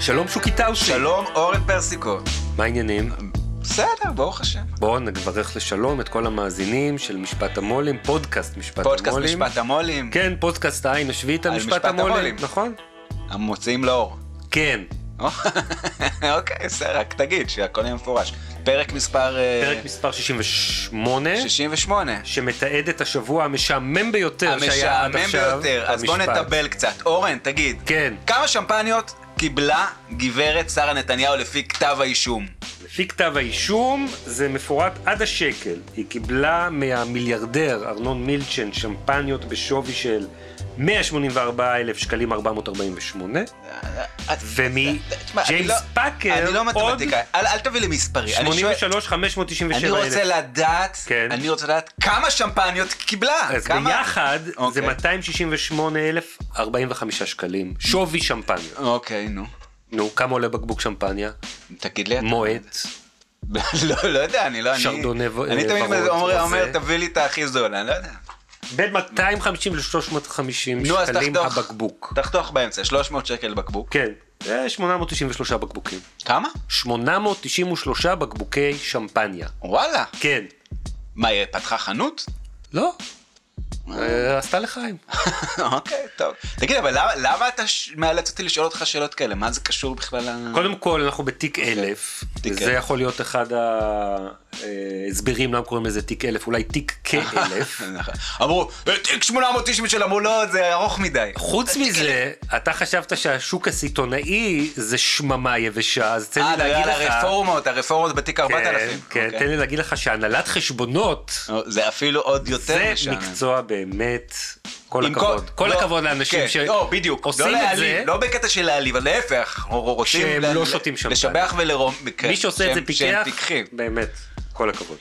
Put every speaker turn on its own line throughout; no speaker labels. שלום שוקי טאוסי.
שלום, אורן פרסיקו.
מה העניינים?
בסדר, ברוך השם.
בואו נברך לשלום את כל המאזינים של משפט המו"לים, פודקאסט משפט
פודקאסט
המו"לים.
משפט המו"לים,
כן, פודקאסט העין השביעית על
על
משפט
משפט
המו"לים,
המו"לים.
נכון?
המוציאים לאור.
כן.
אוקיי, בסדר, רק תגיד שהכל יהיה מפורש. פרק מספר אה,
פרק מספר 68,
68.
שמתעד את השבוע המשעמם ביותר שהיה עד
המשעמם
עכשיו.
ביותר, אז בוא
במשפט.
נטבל קצת. אורן, תגיד,
כן.
כמה שמפניות קיבלה גברת שרה נתניהו לפי כתב האישום?
לפי כתב האישום, זה מפורט עד השקל. היא קיבלה מהמיליארדר ארנון מילצ'ן שמפניות בשווי של 184,000 שקלים 448,
תשמע, אני
ומג'יימס
לא-
פאקר
אני לא
עוד
מתמטיקאי, אל אל תביא לי מספרי. אני שואל-
83,597,000.
אני רוצה לדעת,
כן.
אני רוצה לדעת כמה שמפניות קיבלה.
אז
כמה-
ביחד זה
אוקיי.
268,045 שקלים, שווי שמפניה.
אוקיי, נו.
נו, כמה עולה בקבוק שמפניה?
תגיד לי אתה.
מועט.
לא, לא יודע, אני לא... אני-
שרדונה ו-
אני
ורוד,
תמיד אומר,
רזה.
אומר, תביא לי את הכי זול, אני לא יודע.
בין 250 ל-350
נו, אז
שקלים
תחתוך.
הבקבוק.
תחתוך באמצע, 300 שקל בקבוק.
כן, זה 893 בקבוקים.
כמה?
893 בקבוקי שמפניה.
וואלה.
כן.
מה, היא פתחה חנות?
לא. אה, עשתה לחיים.
אוקיי, טוב. תגיד, אבל למה, למה אתה ש... מאלץ אותי לשאול אותך שאלות כאלה? מה זה קשור בכלל ל...
קודם כל, אנחנו בתיק אלף,
אוקיי. תיק
וזה
אלף.
יכול להיות אחד ההסברים למה קוראים לזה תיק אלף, אולי תיק כאלף.
נכון. אמרו, תיק 890 אמרו, לא, זה ארוך מדי.
חוץ מזה, אתה חשבת שהשוק הסיטונאי זה שממה יבשה, אז תן
אה,
לי
אתה יודע,
להגיד
על
לך...
הרפורמות, הרפורמות בתיק
כן,
4000.
כן,
אוקיי.
תן לי להגיד לך שהנהלת חשבונות
זה אפילו עוד יותר
זה
משעמם.
מקצוע באמת, כל
עם
הכבוד. כל
לא,
הכבוד לאנשים
כן, לא, בדיוק.
שעושים
לא
את
להעליב,
זה.
לא בקטע של להעליב, אבל להפך, אנחנו רוצים...
שהם
ל-
לא
ל-
שותים שמפניה.
לשבח ולרום...
מי שעושה את זה
כן, שהם
פיקח,
פיקחים.
באמת, כל הכבוד.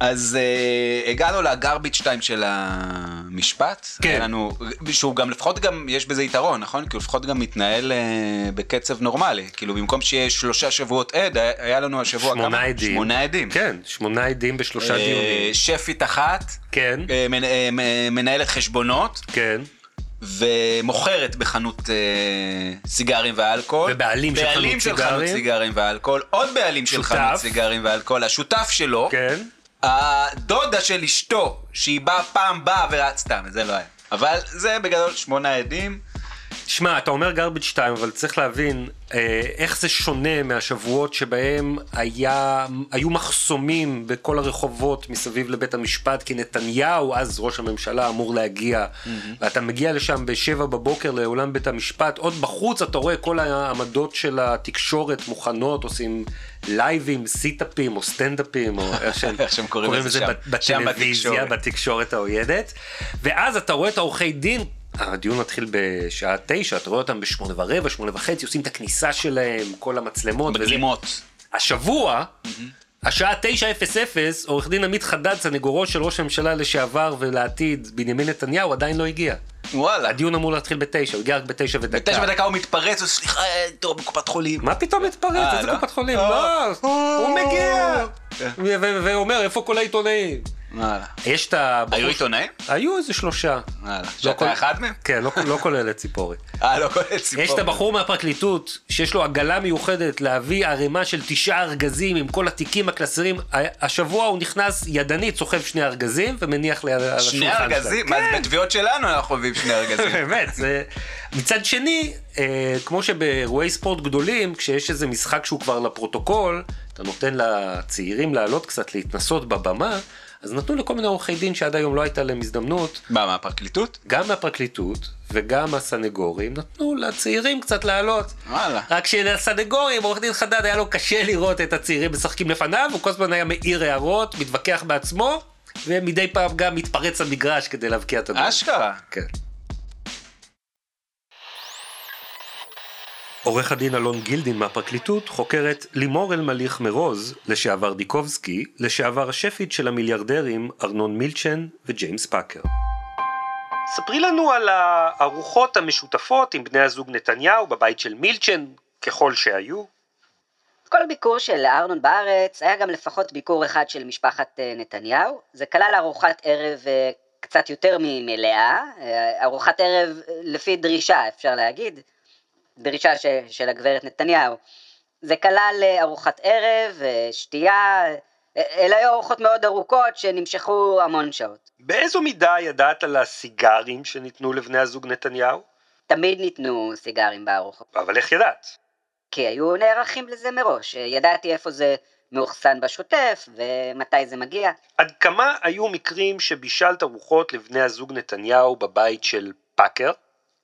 אז אה, הגענו לגרביץ' 2 של המשפט.
כן.
היה לנו, שהוא גם לפחות גם, יש בזה יתרון, נכון? כי הוא לפחות גם מתנהל אה, בקצב נורמלי. כאילו במקום שיהיה שלושה שבועות עד, היה- היה לנו השבוע
שמונה
כמה?
עדים.
שמונה עדים.
כן, שמונה עדים בשלושה
אה,
דיונים.
שפית אחת,
כן,
אה, מנ- אה, מ- מנהלת חשבונות.
כן.
ומוכרת בחנות אה, סיגרים ואלכוהול.
ובעלים של חנות
בעלים של חנות
סיגרים.
סיגרים ואלכוהול. עוד בעלים של
שותף.
חנות סיגרים ואלכוהול. השותף שלו.
כן.
הדודה של אשתו, שהיא באה פעם באה ורצ... סתם, זה לא היה. אבל זה בגדול שמונה עדים.
שמע, אתה אומר garbage 2, אבל צריך להבין אה, איך זה שונה מהשבועות שבהם היה, היו מחסומים בכל הרחובות מסביב לבית המשפט, כי נתניהו, אז ראש הממשלה, אמור להגיע, ואתה מגיע לשם בשבע בבוקר לאולם בית המשפט, עוד בחוץ אתה רואה כל העמדות של התקשורת מוכנות, עושים לייבים, סיטאפים או סטנדאפים, או איך שהם
איך שהם קוראים לזה
לזה
שם. שם
בטלוויזיה,
בתקשורת.
בתקשורת העוינת, ואז אתה רואה את העורכי דין, הדיון מתחיל בשעה תשע, אתה רואה אותם בשמונה ורבע, שמונה וחצי, עושים את הכניסה שלהם, כל המצלמות. וזה.
בגלימות.
השבוע, השעה 9:00, עורך דין עמית חדד, סנגורו של ראש הממשלה לשעבר ולעתיד, בנימין נתניהו, עדיין לא הגיע.
וואלה.
הדיון אמור להתחיל בתשע, הוא הגיע רק בתשע ודקה.
בתשע בדקה הוא מתפרץ, הוא סליחה, אה, תראו בקופת חולים.
מה פתאום מתפרץ?
אה,
איזה
לא?
קופת חולים?
אה.
לא, הוא
אה.
מגיע!
כן.
ו- ו- ואומר, איפה כל העיתונאים?
וואלה.
יש את הבחור...
היו עיתונאים?
היו איזה שלושה.
וואלה.
לא
שאתה אחד מהם?
כן, לא- לא כולל את ציפורי.
אה, לא כולל ציפור.
יש את הבחור מהפרקליטות, שיש לו עגלה מיוחדת להביא ערימה של תשעה ארגזים עם כל התיקים, הקלסרים. ה- השבוע הוא נכנס ידנית, סוחב שני ארגזים ומניח ליד על השולחן.
שני ארגזים?
שלהם.
מה, זה בתביעות שלנו אנחנו מביאים שני
כן,
ארגזים.
באמת, זה... מצד שני, אה, כמו שבאירועי ספורט גדולים, כשיש איזה משחק שהוא כבר לפרוטוקול, אתה נותן לצעירים לעלות קצת, להתנסות בבמה, אז נתנו לכל מיני עורכי דין שעד היום לא הייתה להם הזדמנות,
מה, מה, הפרקליטות?
גם מהפרקליטות וגם הסנגורים נתנו לצעירים קצת לעלות.
וואלה.
רק שלסנגורים, עורך דין חדד היה לו קשה לראות את הצעירים משחקים לפניו, הוא כל הזמן היה מעיר הערות, מתווכח בעצמו,
ומדי פעם גם מתפרץ למגרש כדי להבקיע את הגול.
אשכרה.
כן. עורך הדין אלון גילדין מהפרקליטות חוקר את לימור אלמליך מרוז, לשעבר דיקובסקי, לשעבר השפית של המיליארדרים ארנון מילצ'ן וג'יימס פאקר. ספרי לנו על הארוחות המשותפות עם בני הזוג נתניהו בבית של מילצ'ן, ככל שהיו.
כל ביקור של ארנון בארץ היה גם לפחות ביקור אחד של משפחת אה, נתניהו. זה כלל ארוחת ערב אה, קצת יותר ממלאה, אה, ארוחת ערב אה, לפי דרישה אפשר להגיד, דרישה ש, של הגברת נתניהו. זה כלל אה, ארוחת ערב, אה, שתייה, אה, אלה היו ארוחות מאוד ארוכות שנמשכו המון שעות.
באיזו מידה ידעת על הסיגרים שניתנו לבני הזוג נתניהו?
תמיד ניתנו סיגרים בארוחות.
אבל איך ידעת?
כי היו נערכים לזה מראש, אה, ידעתי איפה זה מאוחסן בשוטף ומתי זה מגיע.
עד כמה היו מקרים שבישלת ארוחות לבני הזוג נתניהו בבית של פאקר?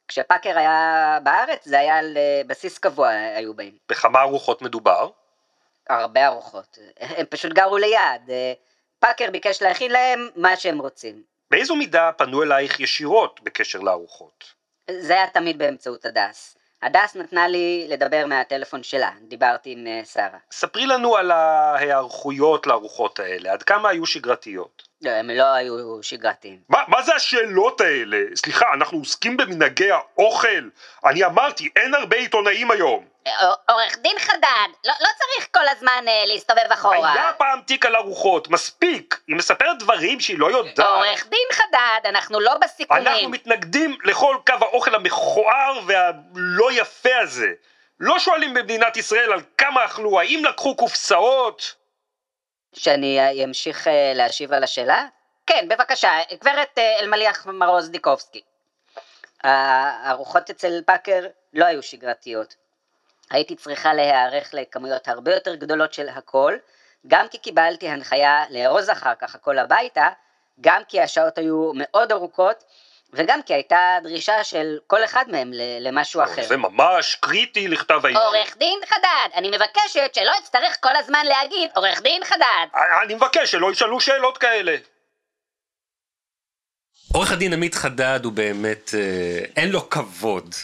כשפאקר היה בארץ זה היה על אה, בסיס קבוע היו באים,
בכמה ארוחות מדובר?
הרבה ארוחות, הם פשוט גרו ליד, אה, פאקר ביקש להכין להם מה שהם רוצים,
באיזו מידה פנו אלייך ישירות בקשר לארוחות?
זה היה תמיד באמצעות הדס, הדס נתנה לי לדבר מהטלפון שלה, דיברתי עם אה, שרה,
ספרי לנו על ההיערכויות לארוחות האלה, עד כמה היו שגרתיות.
לא, הם לא היו שגרתיים,
מה, מה זה השאלות האלה? סליחה, אנחנו עוסקים במנהגי האוכל. אני אמרתי, אין הרבה עיתונאים היום.
אה, עורך דין חדד, לא, לא צריך כל הזמן אה, להסתובב
היה פעם תיק על ארוחות, מספיק! היא מספרת דברים שהיא לא יודעת.
דין חדד, אנחנו לא
אנחנו מתנגדים לכל קו האוכל המכוער והלא יפה הזה. לא שואלים במדינת ישראל על כמה אכלו, האם לקחו קופסאות?
שאני אמשיך אה, להשיב על השאלה? כן, בבקשה, גברת אה, אלמליח מרוז דיקובסקי. הארוחות אצל פאקר לא היו שגרתיות. הייתי צריכה להיערך לכמויות הרבה יותר גדולות של הכל, גם כי קיבלתי הנחיה לארוז אחר כך הכל הביתה, גם כי השעות היו מאוד ארוכות, וגם כי הייתה דרישה של כל אחד מהם ל- למשהו
אוקיי,
אחר.
זה ממש קריטי לכתב האישום.
עורך דין חדד, אני מבקשת שלא אצטרך כל הזמן להגיד עורך דין חדד.
אני מבקש שלא ישאלו שאלות כאלה. עורך הדין עמית חדד הוא באמת, אה, אין לו כבוד.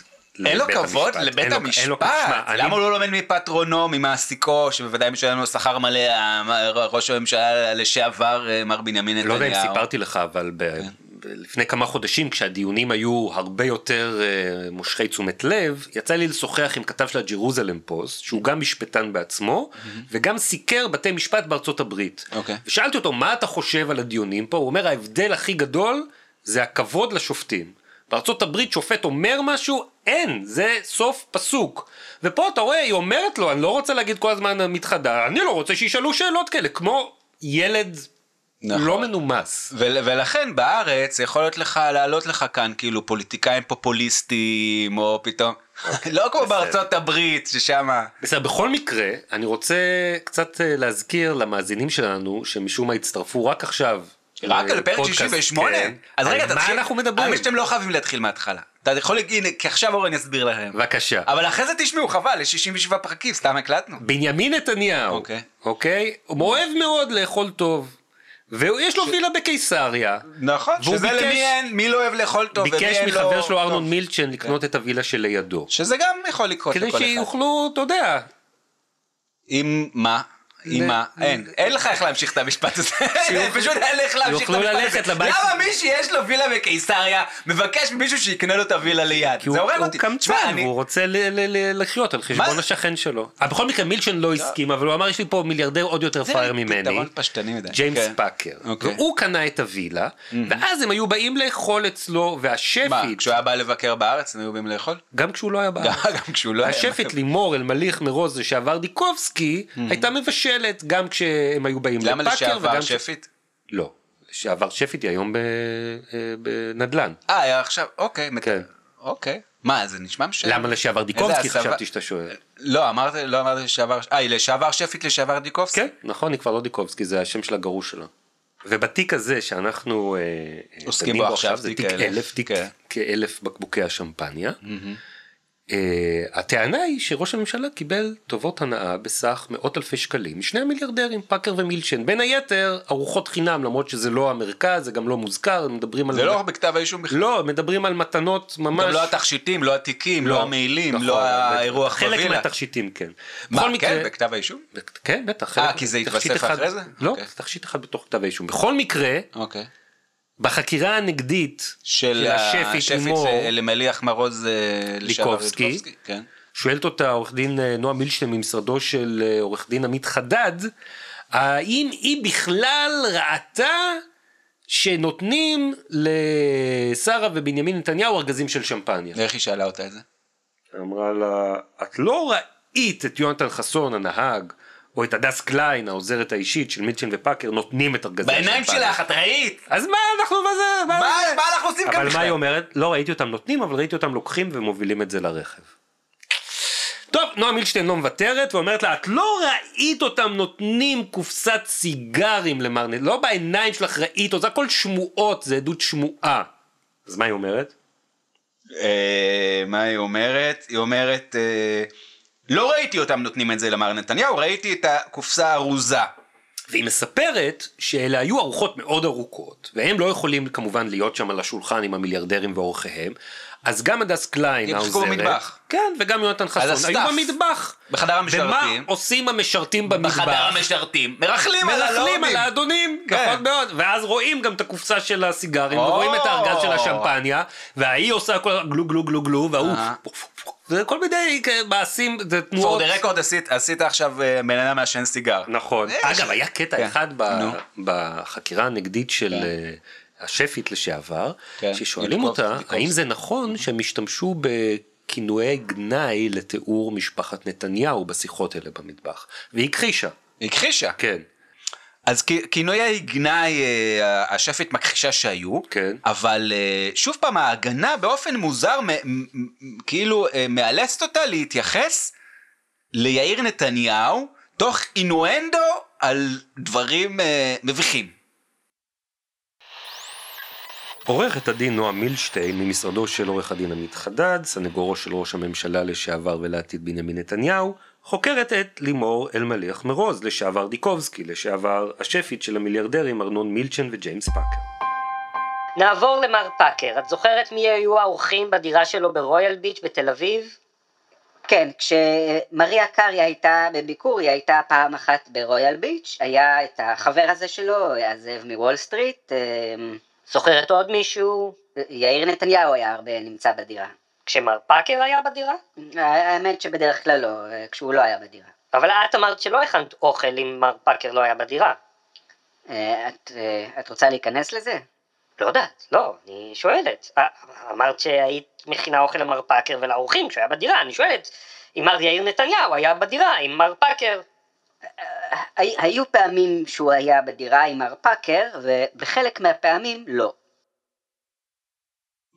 אין לו
לבית
כבוד
המשפט.
לבית
אין לו- אין לו-
המשפט.
תשמע, אני-
למה הוא לא לומד מפטרונו, ממעסיקו, שבוודאי משלם לו שכר מלא, המ- ראש הממשלה לשעבר, אה, מר בנימין
לא
נתניהו. כן.
יודע אם סיפרתי לך, אבל ב... ב- לפני כמה חודשים, כשהדיונים היו הרבה יותר אה, מושכי תשומת לב, יצא לי לשוחח עם כתב של הג'רוזלם פוסט, שהוא גם משפטן בעצמו, וגם סיקר בתי משפט בארצות הברית.
אוקיי.
ושאלתי אותו, מה אתה חושב על הדיונים פה? הוא אומר, ההבדל הכי גדול זה הכבוד לשופטים. בארצות הברית שופט אומר משהו, אין, זה סוף פסוק. ופה אתה רואה, היא אומרת לו, אני לא רוצה להגיד כל הזמן מתחדה, אני לא רוצה שישאלו שאלות כאלה, כמו ילד
נכון.
לא מנומס.
ול, ולכן בארץ יכול להיות לך, לעלות לך כאן כאילו פוליטיקאים פופוליסטים, או פתאום,
אוקיי,
לא כמו בארצות הברית, ששם...
בסדר, בכל מקרה, אני רוצה קצת אה, להזכיר למאזינים שלנו, שמשום מה הצטרפו רק עכשיו.
רק על פרק
לפודקאסט,
68?
אה, כן.
אז רגע,
על
תתחיל.
מה אנחנו מדברים?
האמת שאתם לא חייבים להתחיל מההתחלה. אתה יכול להגיד, הנה, כי עכשיו אורן יסביר לכם.
בבקשה.
אבל אחרי זה תשמעו, חבל, יש 67 פרקים, סתם הקלטנו.
בנימין נתניהו,
אוקיי.
אוקיי? הוא אוהב מאוד לאכול טוב. ויש לו וילה בקיסריה.
נכון,
והוא
שזה
ביקש-
למי אין, מי לא אוהב לאכול טוב, ומי
ביקש
אין לו... לא. כן.
מחבר שלו ארנון
טוב.
מילצ'ן לקנות את הווילה שלידו.
שזה גם יכול לקרות
כדי
לכל אחד.
שיוכלו, אתה יודע,
עם מה? עם מה? אין. אין לך איך להמשיך את המשפט הזה.
שיוכלו-
פשוט אין לך להמשיך את
יוכלו
המשפט
ללכת
הזה.
לבית-
למה מי שיש לו וילה בקיסריה מבקש ממישהו שיקנה לו את הווילה ליד? זה
כי הוא,
הורג
הוא
אותי. תשמע,
קמצן,
אני-
הוא רוצה ל- ל- ל- לחיות על חשבון
מה?
השכן שלו. אבל בכל מקרה מילצ'ן לא הסכים, אבל הוא אמר יש לי פה מיליארדר עוד יותר
זה
פראייר ממני,
פתרון פשטני מדי.
ג'יימס
כן.
פאקר.
אוקיי. Mm-hmm.
והוא קנה את הווילה, ואז הם היו באים לאכול אצלו,
מה,
והשפית,
כשהוא היה בא לבקר בארץ, הם היו באים לאכול?
גם כשהוא לא היה בארץ.
גם כשהוא לא היה...
השפית לימור אלמליך מרוז לשעבר דיקובסקי הייתה מבשלת גם כשהם היו באים
Mm. למה
לפאקר
לשעבר
וגם כש-
שפית?
לא, לשעבר שפית היא היום ב- אה, בנדל"ן.
אה, היה עכשיו, אוקיי. מת-
כן.
אוקיי. מה, זה נשמע משנה.
למה לשעבר דיקובסקי
הסבה?
חשבתי שאתה שואל.
לא, אמרת, לא אמרת לשעבר... אה, היא לשעבר שפית, לשעבר דיקובסקי?
כן, נכון, היא כבר לא דיקובסקי, זה השם של הגרוש שלה. ובתיק הזה שאנחנו אה,
עוסקים
דנים
בו עכשיו,
זה
תיק כן.
תיק
האלף,
אלף, תיק
כן.
כאלף בקבוקי השמפניה.
Mm-hmm.
Uh, הטענה היא שראש הממשלה קיבל טובות הנאה בסך מאות אלפי שקלים משני המיליארדרים פאקר ומילצ'ן בין היתר ארוחות חינם למרות שזה לא המרכז זה גם לא מוזכר הם מדברים על
זה לא בכתב האישום בכלל.
לא מדברים על מתנות ממש
גם לא התכשיטים, לא התיקים, לא המעילים,
נכון,
לא האירוח
חלק
בווילה.
מהתכשיטים כן.
מה,
בכל מקרה-
כן, בכתב האישום?
כן בטח.
אה,
חלק-
כי זה
תכשיט
התווסף
אחד-
אחרי זה?
לא
אוקיי.
תכשיט אחד בתוך כתב האישום בכל מקרה
אוקיי.
בחקירה הנגדית
של השפית
לימור,
אה, למליח מרוז אה, לשעבר
ליקובסקי.
כן.
שואלת אותה עורך דין אה, נועה מילשטיין ממשרדו של אה, עורך דין עמית חדד, האם היא בכלל ראתה שנותנים לשרה ובנימין נתניהו ארגזים של שמפניה?
איך היא שאלה אותה את זה?
אמרה לה, את לא ראית את יונתן חסון הנהג, או את הדס קליין העוזרת האישית של מיטשל ופאקר נותנים את ארגזי השמפניה.
בעיניים שלך, את ראית?
אז מה אנחנו, מה זה?
מה
זה?
מה אנחנו עושים כאן
אבל מה
בכלל?
היא אומרת? לא ראיתי אותם נותנים, אבל ראיתי אותם לוקחים ומובילים את זה לרכב. טוב, נועה מילשטיין לא מוותרת ואומרת לה, את לא ראית אותם נותנים קופסת סיגרים למר נתניהו, לא בעיניים שלך ראית, אותו, זה הכל שמועות, זה עדות שמועה. אז מה היא אומרת?
אה, מה היא אומרת? היא אומרת, אה, לא ראיתי אותם נותנים את זה למר נתניהו, ראיתי את הקופסה הארוזה.
והיא מספרת שאלה היו ארוחות מאוד ארוכות, והם לא יכולים כמובן להיות שם על השולחן עם המיליארדרים ואורחיהם, אז גם הדס קליין
הם שיחקו
העוזרת,
במטבח.
כן, וגם יונתן חסון, היו
הסטאף.
במטבח.
בחדר
ומה
המשרתים.
עושים המשרתים במטבח?
בחדר המשרתים. מרכלים על
מרכלים על
הלאומים.
האדונים,
כן.
נכון מאוד, ואז רואים גם את הקופסה של הסיגרים,
או.
ורואים את הארגז של השמפניה, וההיא עושה כל גלו גלו גלו גלו, וההוא,
אה.
פו, פו, פו. זה כל מיני אה, מעשים, זה
for
תנועות.
the record עשית, עשית עכשיו אה, בן אדם מעשן סיגר.
נכון.
אה,
אגב, היה קטע
כן.
אחד ב-
נו.
בחקירה הנגדית של אה, השפית לשעבר,
כן.
ששואלים
יודקובסקי,
אותה,
יודקובסקי.
האם זה נכון שהם השתמשו בכינויי גנאי לתיאור משפחת נתניהו בשיחות האלה במטבח, והיא הכחישה,
היא הכחישה.
כן.
אז כ- כינויי גנאי אה, השפט מכחישה שהיו,
כן.
אבל אה, שוב פעם ההגנה באופן מוזר מ- מ- מ- כאילו אה, מאלצת אותה להתייחס ליאיר נתניהו תוך אינואנדו על דברים אה, מביכים.
עורכת הדין נועה מילשטיין ממשרדו של עורך הדין עמית חדד, סנגורו של ראש הממשלה לשעבר ולעתיד בנימין נתניהו, חוקרת את לימור אלמליח מרוז, לשעבר דיקובסקי, לשעבר השפית של המיליארדרים ארנון מילצ'ן וג'יימס פאקר.
נעבור למר פאקר. את זוכרת מי היו האורחים בדירה שלו ברויאל ביץ' בתל אביב? כן, כשמריה קארי הייתה בביקור, היא הייתה פעם אחת ברויאל ביץ', היה את החבר הזה שלו, הזאב מוול סטריט, אמ, זוכרת עוד מישהו? יאיר נתניהו היה הרבה נמצא בדירה.
כשמר פאקר היה בדירה?
האמת שבדרך כלל לא, אה, כשהוא לא היה בדירה.
אבל את אמרת שלא הכנת אוכל אם מר פאקר לא היה בדירה.
אה, את, אה, את רוצה להיכנס לזה?
לא יודעת, לא, אני שואלת. אה, אמרת שהיית מכינה אוכל למר פאקר ולאורחים כשהוא היה בדירה, אני שואלת אם מר יאיר נתניהו היה בדירה, אם מר פאקר...
הי- היו פעמים שהוא היה בדירה עם מר פאקר, ובחלק מהפעמים לא.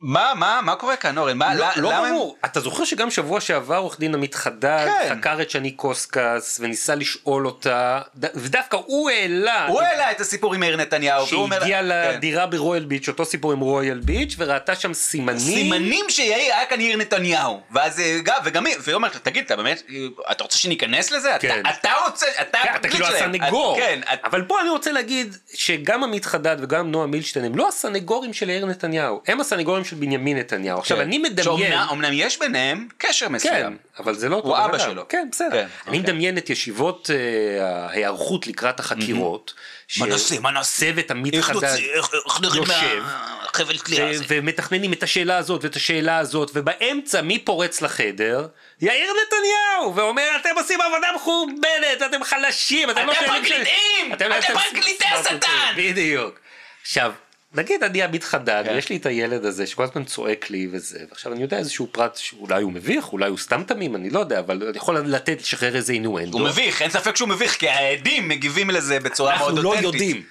מה, מה, מה קורה כאן אורן? מה,
לא,
ל-
לא
אה, למה הם-
ברור, אתה זוכר שגם שבוע שעבר עורך דין עמית חדד
כן.
חקר את שני קוסקס וניסה לשאול אותה, ד- ודווקא הוא העלה
הוא העלה את הסיפור עם יאיר נתניהו. והוא אומר-
שהגיע
כן.
לדירה ברויאל ביץ', אותו סיפור עם רויאל ביץ', וראתה שם סימנים.
סימנים שיאיר היה כאן יאיר נתניהו ואז אה, גם וגם היא והיא אומרת לו תגיד אתה באמת אה, אתה רוצה שניכנס לזה אתה,
כן.
אתה רוצה אתה
כן, אתה
הפרקליט
כאילו
שלהם."
הסנגור.
אתה- כן אתה-
אבל פה אני רוצה להגיד שגם עמית חדד וגם נועה מילשטיין הם לא הסנגורים של יאיר נתניהו, הם הסנגורים של בנימין נתניהו. עכשיו
כן.
אני מדמיין...
שאומנם אמנם יש ביניהם קשר
כן,
מסוים
אבל זה לא אותו
הוא
בן
אבא
אדם.
שלו.
כן, בסדר.
כן,
אני
אוקיי.
מדמיין את ישיבות אה, ההיערכות לקראת החקירות. ש-
מה נעשה, מה נעשה?
צוות עמית
איך
חדד
נוציא איך איך נוריד
יושב.
מהחבל תלייה הזה
ו- ומתכננים את השאלה הזאת ואת השאלה הזאת, ובאמצע מי פורץ לחדר? יאיר נתניהו! ואומר, אתם עושים עבודה מחורבנת, אתם חלשים, אתם לא...
אתם
שייכים של-
פרקליטים! אתם פרקליטי
סמרטוטים."
השטן!
בדיוק. עכשיו, נגיד אני עמית חדד,
כן.
ויש לי את הילד הזה שכל הזמן צועק לי וזה, ועכשיו אני יודע איזשהו פרט שאולי הוא מביך, אולי הוא סתם תמים, אני לא יודע, אבל אני יכול לתת, לשחרר איזה אינואנדו.
הוא מביך אין ספק שהוא מביך כי העדים מגיבים לזה בצורה מאוד
אנחנו לא
אותנטית
יודעים.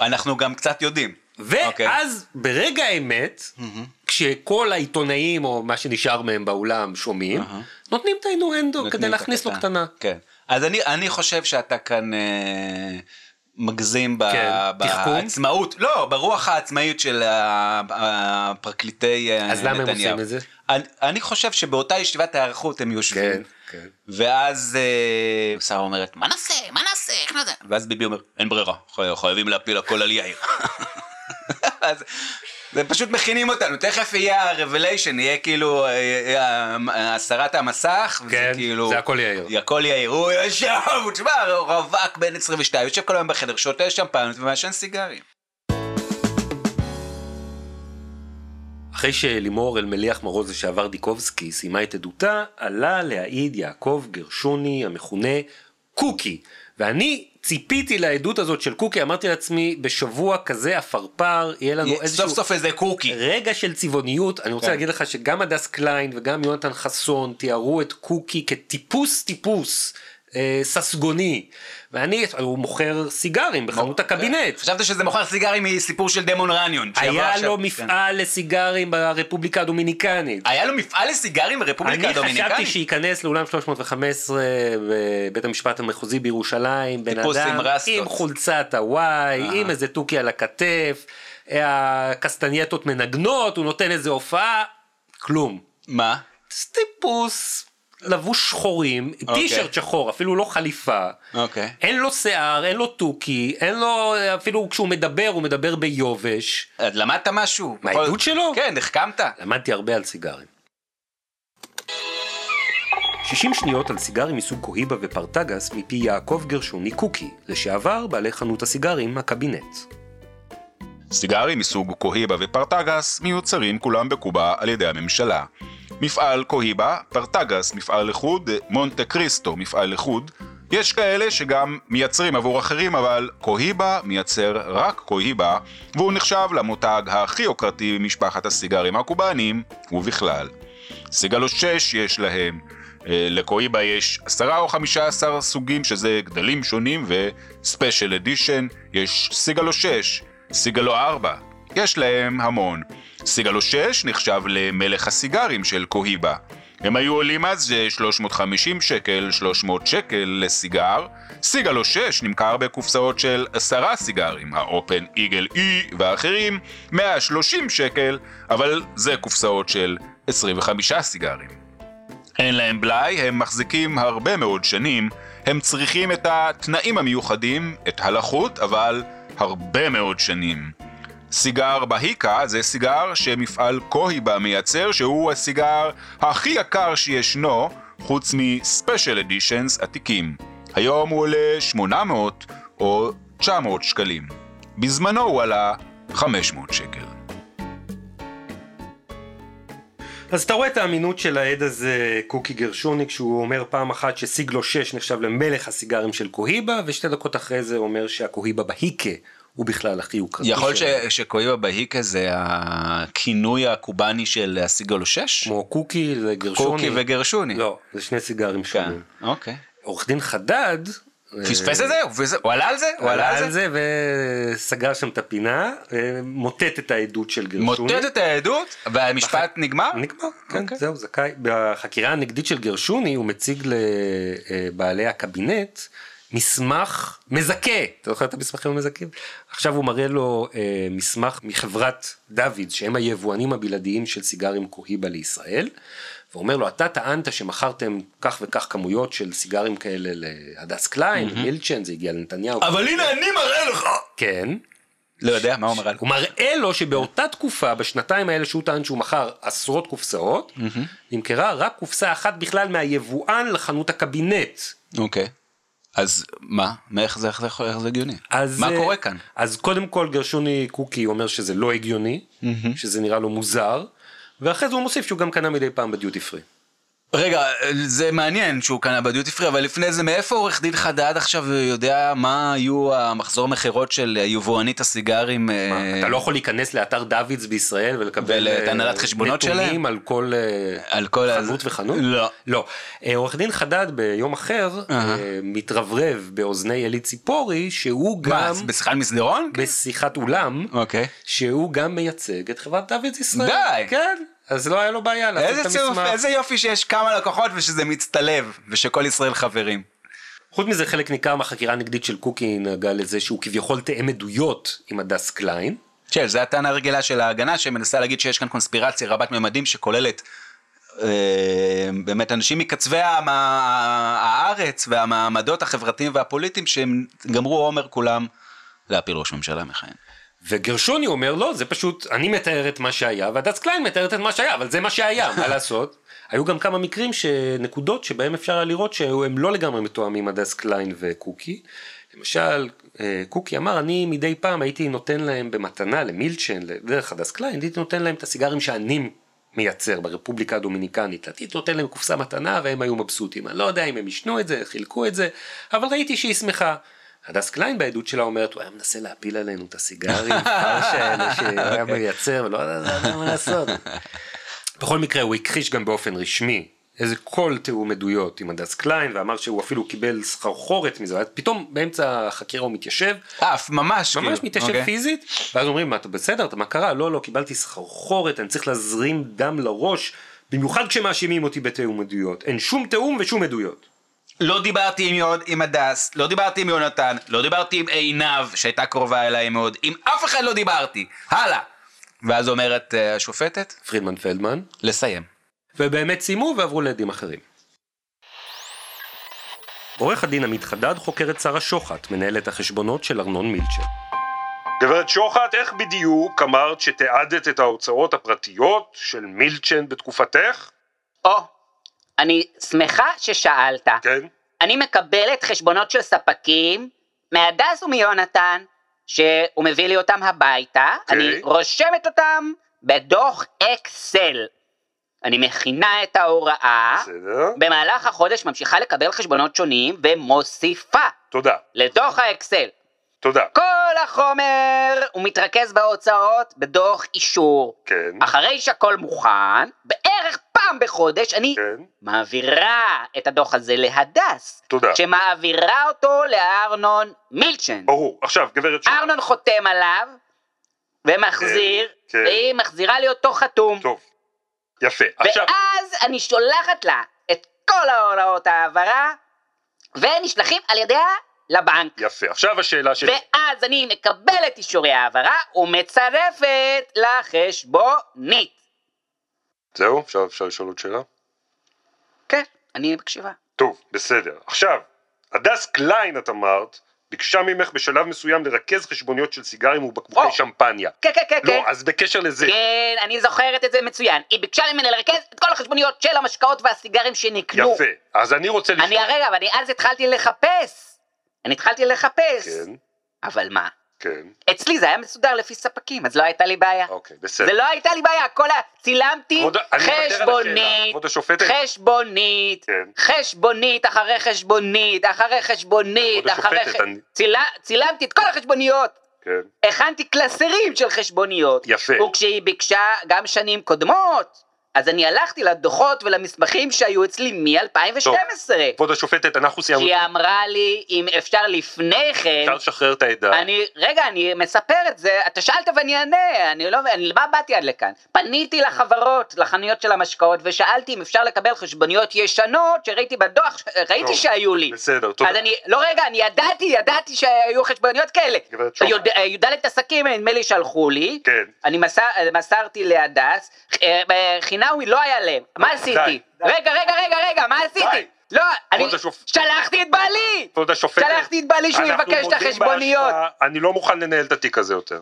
אנחנו גם קצת יודעים אוקיי.
ואז ברגע האמת, כשכל העיתונאים או מה שנשאר מהם באולם שומעים, נותנים את האינואנדו
נותנים
כדי
את כן.
להכניס לו
הקטן.
קטנה.
כן. אז אני, אני חושב שאתה כאן אה, מגזים ב-
כן, תחכום?
בעצמאות, לא, ברוח העצמאית של ה- הפרקליטי אה, נתניהו.
אז למה הם עושים את זה?
אני, אני חושב שבאותה ישיבת ההיערכות הם יושבים.
כן, כן.
ואז אה, שרה אומרת, מה נעשה, מה נעשה, איך נעשה? ואז ביבי אומר, אין ברירה, חי- חייבים להפיל הכל על יאיר. אז זה פשוט מכינים אותנו, תכף יהיה ה-revelation, יהיה כאילו אה, אה, אה, הסרת המסך,
כן,
וזה כאילו...
זה הכל יאיר.
הכל יאיר, הוא יושב, הוא תשמע, הוא רווק בן 22, יושב כל היום בחדר, שותה שמפנות ומעשן סיגרים.
אחרי שלימור אלמליח מרוז לשעבר דיקובסקי סיימה את עדותה, עלה להעיד יעקב גרשוני המכונה קוקי. ואני ציפיתי לעדות הזאת של קוקי, אמרתי לעצמי, בשבוע כזה עפרפר, יהיה לנו איזשהו...
סוף סוף איזה קוקי.
רגע של צבעוניות, אני רוצה
כן.
להגיד לך שגם הדס קליין וגם יונתן חסון תיארו את קוקי כטיפוס טיפוס אה, ססגוני, ואני, הוא מוכר סיגרים בחנות
אה,
הקבינט.
חשבת שזה מוכר סיגרים מסיפור של דמון רניון. שיבוא
היה
עכשיו.
לו
כן.
מפעל לסיגרים ברפובליקה הדומיניקנית.
היה לו מפעל לסיגרים ברפובליקה
אני חשבתי
הדומיניקנית?
שייכנס לאולם 315 בבית המשפט המחוזי בירושלים, בן
טיפוס עם
אדם
רסטות.
עם חולצת הוואי, עם איזה תוכי על הכתף, הקסטנייטות מנגנות, הוא נותן איזה הופעה, כלום.
מה?
טיפוס לבוש שחורים,
אוקיי.
טישרט שחור, אפילו לא חליפה.
אוקיי.
אין לו שיער, אין לו תוכי, אין לו, אפילו כשהוא מדבר, הוא מדבר ביובש.
אז למדת משהו?
מהעדות
יכול-
שלו?
כן, החכמת.
למדתי הרבה על סיגרים. 60 שניות על סיגרים מסוג קוהיבה ופרטגס מפי יעקב גרשוני קוקי, לשעבר בעלי חנות הסיגרים הקבינט.
סיגרים מסוג קוהיבה ופרטגס מיוצרים כולם בקובה על ידי הממשלה. מפעל קוהיבה, פרטגס מפעל לחוד, מונטה קריסטו מפעל לחוד. יש כאלה שגם מייצרים עבור אחרים, אבל קוהיבה מייצר רק קוהיבה, והוא נחשב למותג הכי יוקרתי במשפחת הסיגרים הקובאנים, ובכלל. סיגלו 6 יש להם. אה, לקוהיבה יש 10 או 15 סוגים, שזה גדלים שונים, וספיישל אדישן, יש סיגלו 6, סיגלו 4, יש להם המון. סיגלו 6 נחשב למלך הסיגרים של קוהיבה. הם היו עולים אז אה, 350 שקל, 300 שקל לסיגר. סיגלו 6 נמכר בקופסאות של 10 סיגרים, האופן איגל אי ואחרים, 130 שקל, אבל זה קופסאות של 25 סיגרים. אין להם בלאי, הם מחזיקים הרבה מאוד שנים, הם צריכים את התנאים המיוחדים, את הלחות, אבל הרבה מאוד שנים. סיגר בהיקה זה סיגר שמפעל קוהיבה מייצר, שהוא הסיגר הכי יקר שישנו, חוץ מספיישל אדישנס עתיקים. היום הוא עולה 800 או 900 שקלים. בזמנו הוא עלה 500 שקל.
אז אתה רואה את האמינות של העד הזה, קוקי גרשוני, כשהוא אומר פעם אחת שסיגלו 6 נחשב למלך הסיגרים של קוהיבה, ושתי דקות אחרי זה הוא אומר שהקוהיבה בהיקה הוא בכלל הכי יוקרתי.
יכול ש-
שלהם.
שקויבה בהיקה זה הכינוי הקובאני של הסיגלו 6?
כמו קוקי וגרשוני.
קוקי וגרשוני.
לא, זה שני סיגרים
כן,
שונים.
אוקיי.
עורך דין חדד...
פספס את זה? הוא פספס- הוא עלה על זה?
הוא אה, עלה על זה וסגר שם את הפינה, אה, מוטט את העדות של גרשוני.
מוטט את העדות והמשפט נגמר?
נגמר, כן,
אוקיי.
זהו, זכאי. בחקירה הנגדית של גרשוני הוא מציג לבעלי הקבינט מסמך מזכה. אתה זוכר את המסמכים המזכים? עכשיו הוא מראה לו אה, מסמך מחברת דוד, שהם היבואנים הבלעדיים של סיגרים קוהיבה לישראל, ואומר לו, אתה טענת שמכרתם כך וכך כמויות של סיגרים כאלה להדס קליין, מילצ'ן, זה הגיע לנתניהו.
אבל הנה אני מראה לך!
כן.
לא יודע, מה הוא מראה לך?
הוא מראה לו שבאותה תקופה, בשנתיים האלה שהוא טען שהוא מכר עשרות קופסאות, נמכרה רק קופסה אחת בכלל מהיבואן לחנות הקבינט.
אוקיי. אז מה? מאיך זה, איך זה, יכול- איך זה הגיוני?
אז,
מה
אה,
קורה כאן?
אז קודם כל גרשוני קוקי אומר שזה לא הגיוני, שזה נראה לו מוזר, ואחרי זה הוא מוסיף שהוא גם קנה מדי פעם בדיוטי פרי.
אה. רגע, זה מעניין שהוא קנה בדיוטי פרי, אבל לפני זה, מאיפה עורך דין חדד עכשיו יודע מה היו המחזור מכירות של יבואנית הסיגרים? אה,
אתה לא יכול להיכנס לאתר דוידס בישראל ולקבל
ולאת
אה,
הנהלת חשבונות שלהם?
נתונים על כל אה,
על כל ה-
חנות וחנות?
לא.
לא. אה, עורך דין חדד ביום אחר
אהה.
אה, מתרברב באוזני אלי ציפורי שהוא
מה,
גם
בשיחת מסדרון?
בשיחת אולם,
אוקיי.
שהוא גם מייצג את חברת דוידס ישראל.
די!
כן, אז לא היה לו בעיה לעשות את
איזה צירוף,
המסמך.
איזה יופי שיש כמה לקוחות ושזה מצטלב, ושכל ישראל חברים.
חוץ מזה חלק ניכר מהחקירה הנגדית של קוקי נגע לזה שהוא כביכול תאם עדויות עם הדס קליין.
כן, זו הטענה הרגילה של ההגנה שמנסה להגיד שיש כאן קונספירציה רבת ממדים שכוללת אה, באמת אנשים מקצווי המ- הארץ והמעמדות החברתיים והפוליטיים שהם גמרו עומר כולם להפיל ראש ממשלה מכהן.
וגרשוני אומר לא זה פשוט אני מתאר את מה שהיה והדס קליין מתארת את מה שהיה אבל זה מה שהיה מה לעשות. היו גם כמה מקרים שנקודות שבהם אפשר היה לראות שהם לא לגמרי מתואמים הדס קליין וקוקי. למשל אה, קוקי אמר אני מדי פעם הייתי נותן להם במתנה למילצ'ן דרך הדס קליין הייתי נותן להם את הסיגרים שאני מייצר ברפובליקה הדומיניקנית. הייתי נותן להם קופסה מתנה והם היו מבסוטים אני לא יודע אם הם עישנו את זה חילקו את זה אבל ראיתי שהיא שמחה. הדס קליין בעדות שלה אומרת, הוא היה מנסה להפיל עלינו את הסיגרים, פרש האלה שהוא היה מייצר, ולא ידע מה לעשות. בכל מקרה, הוא הכחיש גם באופן רשמי איזה כל תיאום עדויות עם הדס קליין, ואמר שהוא אפילו קיבל סחרחורת מזה, ואז פתאום באמצע החקירה הוא מתיישב,
אף, ממש,
ממש מתיישב
אוקיי.
okay. פיזית, ואז אומרים, מה, אתה בסדר? אתה מה קרה? לא, לא, קיבלתי סחרחורת, אני צריך להזרים דם לראש, במיוחד כשמאשימים אותי בתיאום עדויות. אין שום תיאום ושום עדויות.
לא דיברתי עם, יוד, עם הדס, לא דיברתי עם יונתן, לא דיברתי עם עינב שהייתה קרובה אליי מאוד, עם אף אחד לא דיברתי, הלאה. ואז אומרת אה, השופטת,
פרידמן פלדמן,
לסיים.
ובאמת סיימו ועברו לעדים אחרים. עורך הדין עמית חדד חוקר את שרה שוחט, מנהלת החשבונות של ארנון מילצ'ר.
גברת שוחט, איך בדיוק אמרת שתיעדת את ההוצאות הפרטיות של מילצ'ן בתקופתך?
או, אני שמחה ששאלת.
כן.
אני מקבלת חשבונות של ספקים מהדס ומיונתן, שהוא מביא לי אותם הביתה,
אוקיי.
אני רושמת אותם בדוח אקסל. אני מכינה את ההוראה,
בסדר.
במהלך החודש ממשיכה לקבל חשבונות שונים ומוסיפה
תודה.
לדוח האקסל.
תודה.
כל החומר הוא מתרכז בהוצאות בדוח אישור.
כן.
אחרי שהכל מוכן, בערך פעם בחודש אני
כן.
מעבירה את הדוח הזה להדס,
תודה.
שמעבירה אותו לארנון מילצ'ן.
ברור. עכשיו, גברת שוחט.
ארנון חותם עליו, ומחזיר,
כן, כן.
והיא מחזירה לי אותו חתום.
טוב. יפה. עכשיו,
ואז אני שולחת לה את כל ההוראות ההעברה, ונשלחים על ידיה לבנק.
יפה. עכשיו השאלה שלי.
ואז אני מקבלת אישורי העברה ומצרפת לחשבונית.
זהו, עכשיו אפשר לשאול עוד שאלה?
כן, אני מקשיבה.
טוב, בסדר. עכשיו, הדס קליין, את אמרת, ביקשה ממך בשלב מסוים לרכז חשבוניות של סיגרים ובקבוקי
או.
שמפניה.
כן, כן, כן, כן.
לא, אז בקשר לזה.
כן, אני זוכרת את זה מצוין. היא ביקשה ממני לרכז את כל החשבוניות של המשקאות והסיגרים שנקנו.
יפה. אז אני רוצה לשאול.
כן, אני הרגע, אבל אני אז התחלתי לחפש. אני התחלתי לחפש.
כן,
אבל מה?
כן.
אצלי זה היה מסודר לפי ספקים, אז לא הייתה לי בעיה.
אוקיי,
זה
בסדר.
לא הייתה לי בעיה, כל ה... צילמתי
כבוד- אני מוותר על השאלה.
חשבונית,
כבוד השופטת.
חשבונית,
כן.
חשבונית אחרי חשבונית, אחרי חשבונית,
כבוד
אחרי...
השופטת,
ח-
אני-
צילה- צילמתי את כל החשבוניות,
כן.
הכנתי קלסרים של חשבוניות.
יפה.
וכשהיא ביקשה גם שנים קודמות, אז אני הלכתי לדוחות ולמסמכים שהיו אצלי מ-2012.
כבוד השופטת, אנחנו סיימנו.
שהיא אמרה לי, אם אפשר לפני כן,
אפשר לשחרר את העדה.
אני, רגע, אני מספר את זה, אתה שאלת ואני אענה, אני לא, אני, מה באתי עד לכאן? פניתי לחברות, לחנויות של המשקאות, ושאלתי אם אפשר לקבל חשבוניות ישנות, שראיתי בדוח, ראיתי
טוב,
שהיו לי.
בסדר, תודה.
אז אני, לא רגע, אני ידעתי, ידעתי שהיו חשבוניות כאלה.
גברת שוחט.
יוד- אה, י"ד עסקים, נדמה לי, שלחו לי.
כן.
אני מסר, אה, מסרתי להדס, אה, אה, חינאווי לא היה להם, מה עשיתי? רגע, רגע, רגע, רגע, מה עשיתי? לא, אני
השופט.
שלחתי את בעלי!
כבוד השופטת.
שלחתי את בעלי שהוא
אנחנו
יבקש את
מודים
החשבוניות.
באשמה, אני לא מוכן לנהל את התיק הזה יותר.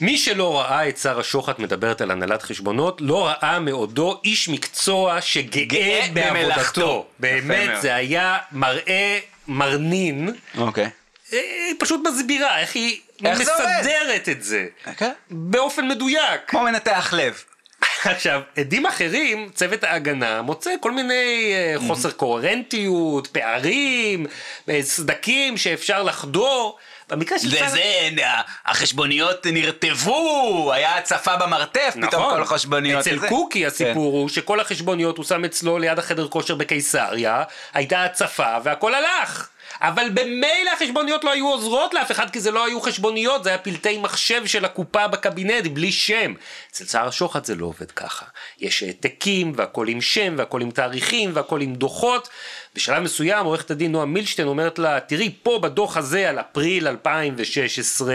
מי שלא ראה את שרה שוחט מדברת על הנהלת חשבונות, לא ראה מעודו איש מקצוע שגאה
גאה
בעבודתו.
במלאכתו. יפה
באמת,
מאוד.
זה היה מראה מרנין.
אוקיי.
אה, היא פשוט מסבירה איך היא
איך זה עובד?
מסדרת את זה.
אוקיי.
באופן מדויק.
כמו מנתח לב.
עכשיו, עדים אחרים, צוות ההגנה מוצא כל מיני אה, חוסר קוהרנטיות, פערים, אה, סדקים שאפשר לחדור. במקרה של שרה-
זה, זה, אה, החשבוניות נרטבו, היה הצפה במרתף, פתאום כל החשבוניות.
נכון.
כן.
אצל
זה.
קוקי הסיפור הוא שכל החשבוניות הוא שם אצלו ליד החדר כושר בקיסריה, הייתה הצפה והכל הלך. אבל במילא החשבוניות לא היו עוזרות לאף אחד, כי זה לא היו חשבוניות, זה היה פלטי מחשב של הקופה בקבינט, בלי שם. אצל שר השוחד זה לא עובד ככה. יש העתקים, והכל עם שם, והכל עם תאריכים, והכל עם דוחות. בשלב מסוים עורכת הדין נועה מילשטיין אומרת לה, תראי, פה בדוח הזה על אפריל 2016,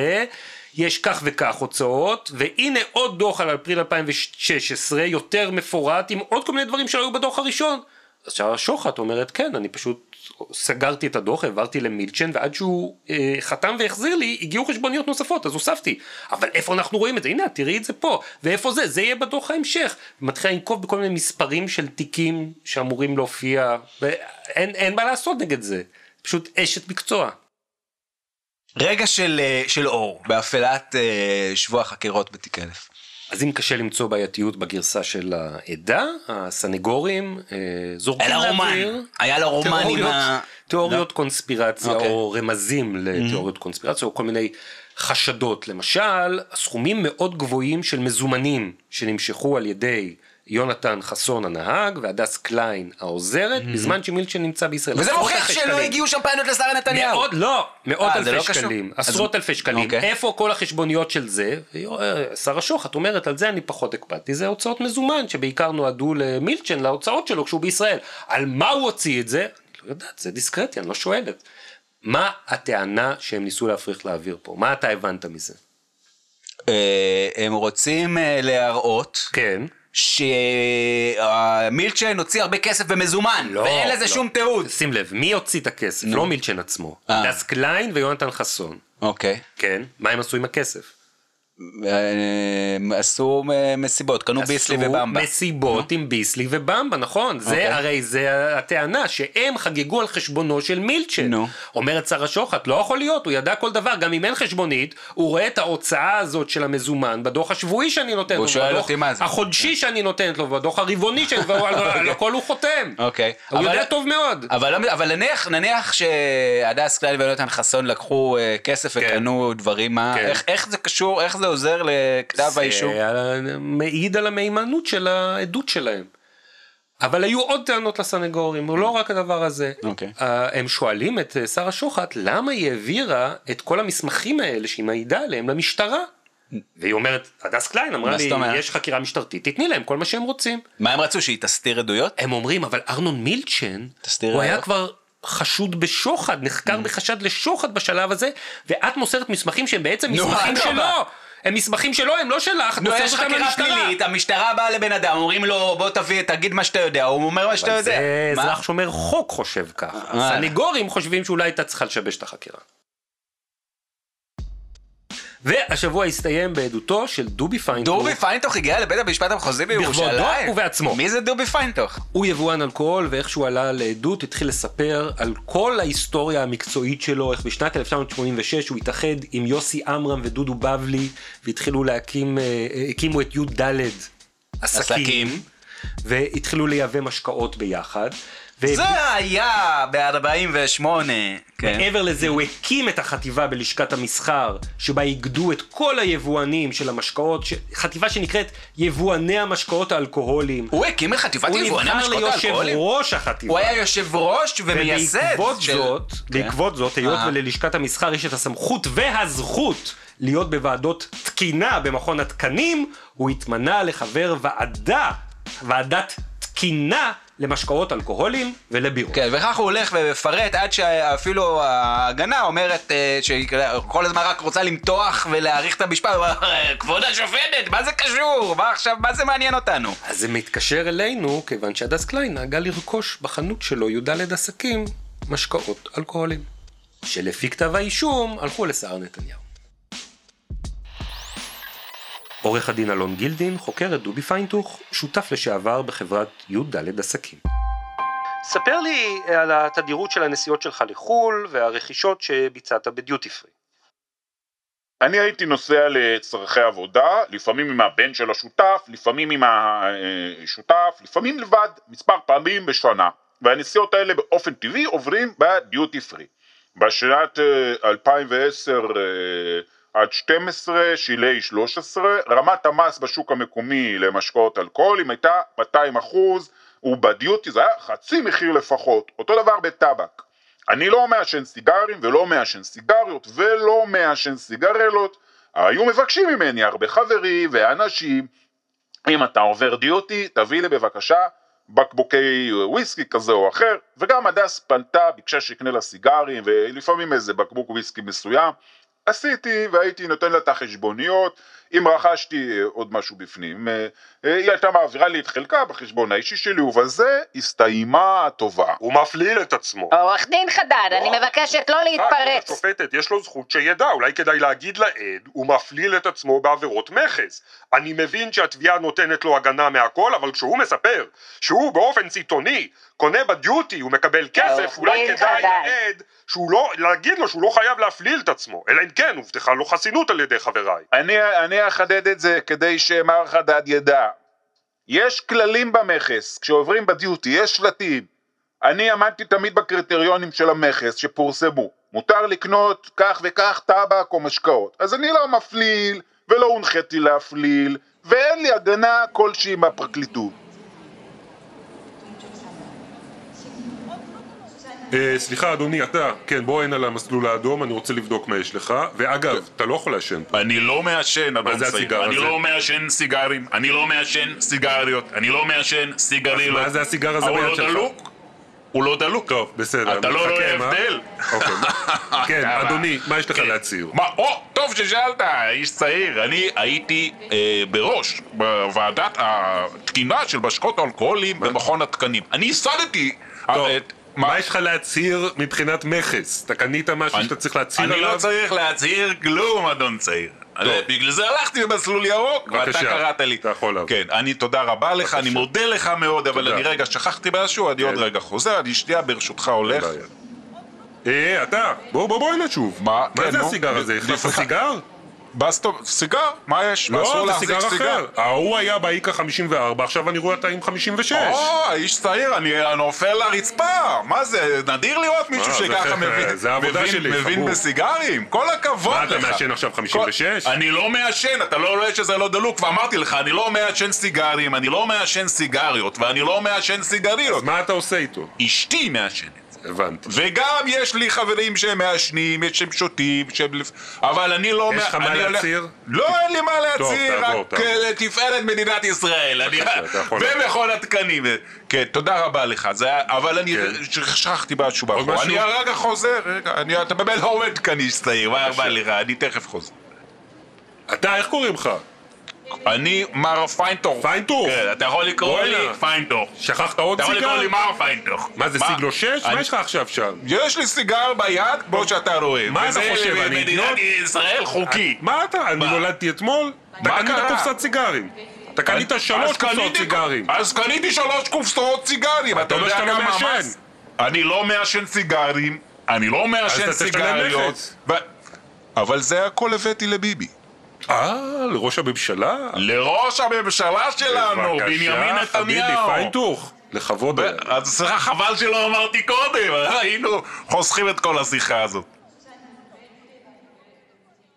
יש כך וכך הוצאות, והנה עוד דוח על אפריל 2016, יותר מפורט, עם עוד כל מיני דברים שלא היו בדוח הראשון. אז שער השוחט אומרת, כן, אני פשוט סגרתי את הדוח, העברתי למילצ'ן, ועד שהוא אה, חתם והחזיר לי, הגיעו חשבוניות נוספות, אז הוספתי. אבל איפה אנחנו רואים את זה? הנה, תראי את זה פה. ואיפה זה? זה יהיה בדוח ההמשך. מתחילה לנקוב בכל מיני מספרים של תיקים שאמורים להופיע, ואין אין מה לעשות נגד זה. פשוט אשת מקצוע.
רגע של, אה, של אור, באפלת אה, שבוע החקירות בתיק אלף.
אז אם קשה למצוא בעייתיות בגרסה של העדה, הסנגורים אה, זורקים
היה לה רומן,
לאוויר
היה לה רומן עם
תיאוריות,
ה...
תיאוריות קונספירציה
לא. אוקיי. Mm.
או רמזים לתיאוריות קונספירציה או כל מיני חשדות. למשל, סכומים מאוד גבוהים של מזומנים שנמשכו על ידי יונתן חסון הנהג והדס קליין העוזרת, בזמן שמילצ'ן נמצא בישראל.
Mm-hmm. וזה
עשרות
מוכיח
אלפי
שלא
שקלים.
הגיעו שם טענות לשרה נתניהו.
מאות, לא, מאות
אה, זה
אלפי
לא קשור?
שקלים,
אז-
עשרות אלפי שקלים,
אוקיי.
איפה כל החשבוניות של זה? אה, שר השוחט אומרת, על זה אני פחות הקפדתי, זה הוצאות מזומן שבעיקר נועדו למילצ'ן, להוצאות שלו כשהוא בישראל. על מה הוא הוציא את זה? אני לא יודעת, זה דיסקרטי, אני לא שואלת. מה הטענה שהם ניסו להפריך לאוויר פה? מה אתה הבנת מזה?
אה, הם רוצים אה, להראות
כן.
שמילצ'ן הוציא הרבה כסף במזומן, ואין לזה שום תיעוד.
שים לב, מי הוציא את הכסף? לא מילצ'ן עצמו.
אה.
הדס קליין ויונתן חסון.
אוקיי.
כן. מה הם עשו עם הכסף?
אה, עשו אה, מסיבות, קנו ביסלי
עשו
ובמבה.
מסיבות עם ביסלי ובמבה, נכון.
אוקיי.
זה הרי זה הטענה, שהם חגגו על חשבונו של מילצ'ן.
נו.
אומרת שרה שוחט, לא יכול להיות, הוא ידע כל דבר, גם אם אין חשבונית, הוא רואה את ההוצאה הזאת של המזומן בדוח השבועי שאני נותן לו,
והוא שואל
בדוח
אותי מה זה. כן.
החודשי שאני נותנת לו, בדוח הרבעוני שאני, ועל על הכל הוא חותם.
אוקיי.
הוא
אבל-
יודע טוב מאוד.
אבל, לא- אבל נניח, נניח שהדס קליין ויונתן חסון לקחו אה, כסף
כן.
וקנו דברים, מה,
כן.
איך, איך זה קשור, איך זה עוזר לכתב האישום?
זה היה- מעיד על המהימנות של העדות שלהם. אבל היו עוד טענות לסנגורים, הוא לא רק הדבר הזה.
אוקיי.
אה, הם שואלים את אה, שרה שוחט, למה היא העבירה את כל המסמכים האלה שהיא מעידה עליהם למשטרה? והיא אומרת, הדס קליין אמרה
מה
לי,
זאת אומרת?
יש חקירה משטרתית, תתני להם כל מה שהם רוצים.
מה הם רצו, שהיא תסתיר עדויות?
הם אומרים, אבל ארנון מילצ'ן,
תסתיר
הוא היה
ראיות. Mm.
כבר חשוד בשוחד, נחקר בחשד לשוחד בשלב הזה, ואת מוסרת מסמכים שהם בעצם
נו,
מסמכים
אדרבה.
שלו. הם מסמכים שלו, הם לא שלך, את
נו,
מוסרת
יש
אותם
חקירה
למשטרה.
פלילית, המשטרה באה לבן אדם, אומרים לו, בוא תביא, תגיד מה שאתה יודע, הוא אומר מה שאתה
אבל
יודע.
זה
מה? אה.
אזרח שומר חוק חושב כך. הסניגורים חושבים שאולי הייתה צריכה לשבש את החקירה. והשבוע הסתיים בעדותו של דובי פיינטור.
דובי פיינטוך הגיע לבית המשפט המחוזי בירושלים.
בכבודו ובעצמו.
מי זה דובי פיינטוך?
הוא יבואן אלכוהול, ואיך שהוא עלה לעדות, התחיל לספר על כל ההיסטוריה המקצועית שלו, איך בשנת 1986 הוא התאחד עם יוסי עמרם ודודו בבלי, והתחילו להקים, אה, אה, הקימו את י"ד עסקים,
עסקים.
והתחילו לייבא משקאות ביחד. והביאו-
זה היה ב-48. כן.
מעבר לזה הוא הקים את החטיבה בלשכת המסחר, שבה איגדו את כל היבואנים של המשקאות, ש... חטיבה שנקראת יבואני המשקאות האלכוהוליים.
הוא הקים את חטיבת
הוא
יבואני
נבחר
המשקאות
ליושב
האלכוהולים.
ראש החטיבה.
הוא היה יושב ראש ומייסד.
ובעקבות
של-
זאת,
כן.
בעקבות זאת, היות
אה.
וללשכת המסחר יש את הסמכות והזכות להיות בוועדות תקינה במכון התקנים, הוא התמנה לחבר ועדה, ועדת תקינה למשקאות אלכוהולים ולבירות.
כן, וכך הוא הולך ומפרט עד שאפילו ההגנה אומרת אה, שהיא כל הזמן רק רוצה למתוח ולהעריך את המשפט, הוא אומר, "אה, כבוד השופטת, מה זה קשור? מה עכשיו, מה זה מעניין אותנו?
אז זה מתקשר אלינו, כיוון שהדס קליין נהגה לרכוש בחנות שלו י"ד עסקים משקאות אלכוהולים. שלפי כתב האישום הלכו לסער נתניהו. עורך הדין אלון גילדין חוקר את דובי פיינטוך, שותף לשעבר בחברת י"ד עסקים. ספר לי על התדירות של הנסיעות שלך לחו"ל והרכישות שביצעת בדיוטי פרי.
אני הייתי נוסע לצורכי עבודה, לפעמים עם הבן של השותף, לפעמים עם השותף, לפעמים לבד, מספר פעמים בשנה. והנסיעות האלה באופן טבעי עוברים בדיוטי פרי. בשנת אה, 2010 אה, עד 12, שילי 13, רמת המס בשוק המקומי למשקאות אלכוהולים הייתה 200 אחוז, ובדיוטי זה היה חצי מחיר לפחות, אותו דבר בטבק.
אני לא מעשן סיגרים ולא מעשן סיגריות ולא מעשן סיגרלות. היו מבקשים ממני הרבה חברים ואנשים, אם אתה עובר דיוטי, תביא לי בבקשה בקבוקי וויסקי כזה או אחר, וגם הדס פנתה, ביקשה שאקנה לה סיגרים ולפעמים איזה בקבוק וויסקי מסוים. עשיתי והייתי נותן לה את החשבוניות, אם רכשתי אה, עוד משהו בפנים, אה, אה, היא הייתה מעבירה לי את חלקה בחשבון האישי שלי, ובזה הסתיימה הטובה.
הוא מפליל את עצמו.
עורך דין חדד, אני מבקשת
אה,
לא להתפרץ.
השופטת, יש לו זכות שידע, אולי כדאי להגיד לעד, הוא מפליל את עצמו בעבירות מכס. אני מבין שהתביעה נותנת לו הגנה מהכל, אבל כשהוא מספר שהוא באופן סיטוני קונה בדיוטי, הוא מקבל כסף,
עורך
אולי
דין
כדאי
חדש.
לעד, שהוא לא, להגיד לו שהוא לא חייב להפליל את עצמו, אלא אם כן, הובטחה לו חסינות על ידי חבריי.
אני, אני אחדד את זה כדי שמר חדד ידע. יש כללים במכס, כשעוברים בדיוטי, יש שלטים. אני עמדתי תמיד בקריטריונים של המכס שפורסמו. מותר לקנות כך וכך טבק או משקאות. אז אני לא מפליל, ולא הונחיתי להפליל, ואין לי הגנה כלשהי מהפרקליטות.
אה, סליחה אדוני, אתה, כן בוא הנה למסלול האדום, אני רוצה לבדוק מה יש לך, ואגב,
כן.
אתה לא יכול לעשן פה.
אני לא מעשן, אדון
זה
צעיר.
הסיגר
אני
הזה?
לא מעשן סיגרים, אני לא מעשן סיגריות, אני לא מעשן סיגרילות.
מה זה הסיגר הזה
הוא
ביד
לא
שלך?
דלוק? הוא לא דלוק.
טוב, בסדר.
אתה לא
מחכה,
רואה
מה?
הבדל?
אוקיי. כן,
כמה?
אדוני, מה יש לך להצהיר?
מה, או, טוב ששאלת, איש צעיר. אני הייתי אה, בראש בוועדת התקינה של משקאות אלכוהוליים במכון התקנים. אני ייסדתי...
טוב,
אה, את-
מה יש לך להצהיר מבחינת מכס? אתה קנית משהו
אני-
שאתה צריך להצהיר
אני לא
עליו?
צריך להצהיר כלום, אדון צעיר. אה, בגלל זה הלכתי במסלול ירוק, ואתה
בבקשה,
קראת לי.
אתה יכול לעבור.
כן, אני תודה רבה לך, אני מודה לך מאוד, אבל
תודה.
אני רגע שכחתי משהו,
כן.
אני עוד רגע חוזר, אני שנייה ברשותך
אין
הולך.
בעיה. אה, אתה, בוא בוא בוא הנה שוב.
מה?
מה
כן,
זה
נו.
הסיגר הזה? החלפת
סליחה.
סיגר?
בסטו, סיגר? מה יש?
לא,
אסור
זה
להחזיק
סיגר אחר. ההוא היה באיקה 54, עכשיו אני רואה אתה עם 56.
או, איש צעיר, אני נופל לרצפה! מה זה, נדיר לראות מישהו
אה, זה-
שככה מבין-
זה העבודה
מבין-
שלי,
מבין
חמור.
בסיגרים? כל הכבוד
מה,
לך!
אתה מעשן עכשיו 56?
כל- אני לא מעשן, אתה לא רואה שזה לא דלוק, ואמרתי לך, אני לא מעשן סיגרים, אני לא מעשן סיגריות, ואני לא מעשן סיגריות.
אז מה אתה עושה איתו?
אשתי מעשנת.
הבנתי.
וגם יש לי חברים שהם מעשנים, יש שהם שותים, שהם... לפ- אבל אני לא...
יש לך
אני
מה
הולך-
להצהיר?
לא, אין לי מה
טוב,
להצהיר,
תעבור,
רק
תעבור.
אה, לתפארת מדינת ישראל. אני-
בבקשה, אתה יכול לעבור.
ומכון התקנים. אה, כן, תודה רבה לך. זה היה- אבל אני
כן.
ש- שכחתי משהו
משהו?
באחור. אני הרגע חוזר, רגע. אני- אתה באמת לא עומד כאן איש צעיר, מה רבה לך? אני תכף חוזר.
אתה, איך קוראים לך?
אני מר פיינטור.
פיינטור?
כן, אתה יכול לקרוא לי
בואנה.
פיינטור.
שכחת עוד
אתה יכול לקרוא
סיגר?
לי מר פיינטור.
מה זה, סיגלו 6?
אני-
מה יש לך עכשיו שם?
יש לי סיגר ביד, כמו שאתה רואה.
מה אתה
וזה
חושב, אני
מדינת
אידיוט?
ישראל חוקי.
מה אתה? אני
מה?
נולדתי אתמול? אתה
מה
קנית
קרה?
קופסת סיגרים. אתה קנית
אז
שלוש קופסות
קניתי-
סיגרים.
אז קניתי שלוש קופסאות סיגרים. אתה
אומר
יודע
שאתה לא
כמה
מעשן.
המס? אני לא מעשן סיגרים, אני לא מעשן
אתה תשלם
סיגריות.
מכס.
ו- אבל זה הכל הבאתי לביבי.
אה, לראש הממשלה?
לא. לראש הממשלה שלנו,
בבקשה,
בנימין
חביבי
נתניהו.
פיינטוך, לכבוד היה.
ו- אז סליחה, חבל שלא אמרתי קודם, היינו חוסכים את כל השיחה הזאת.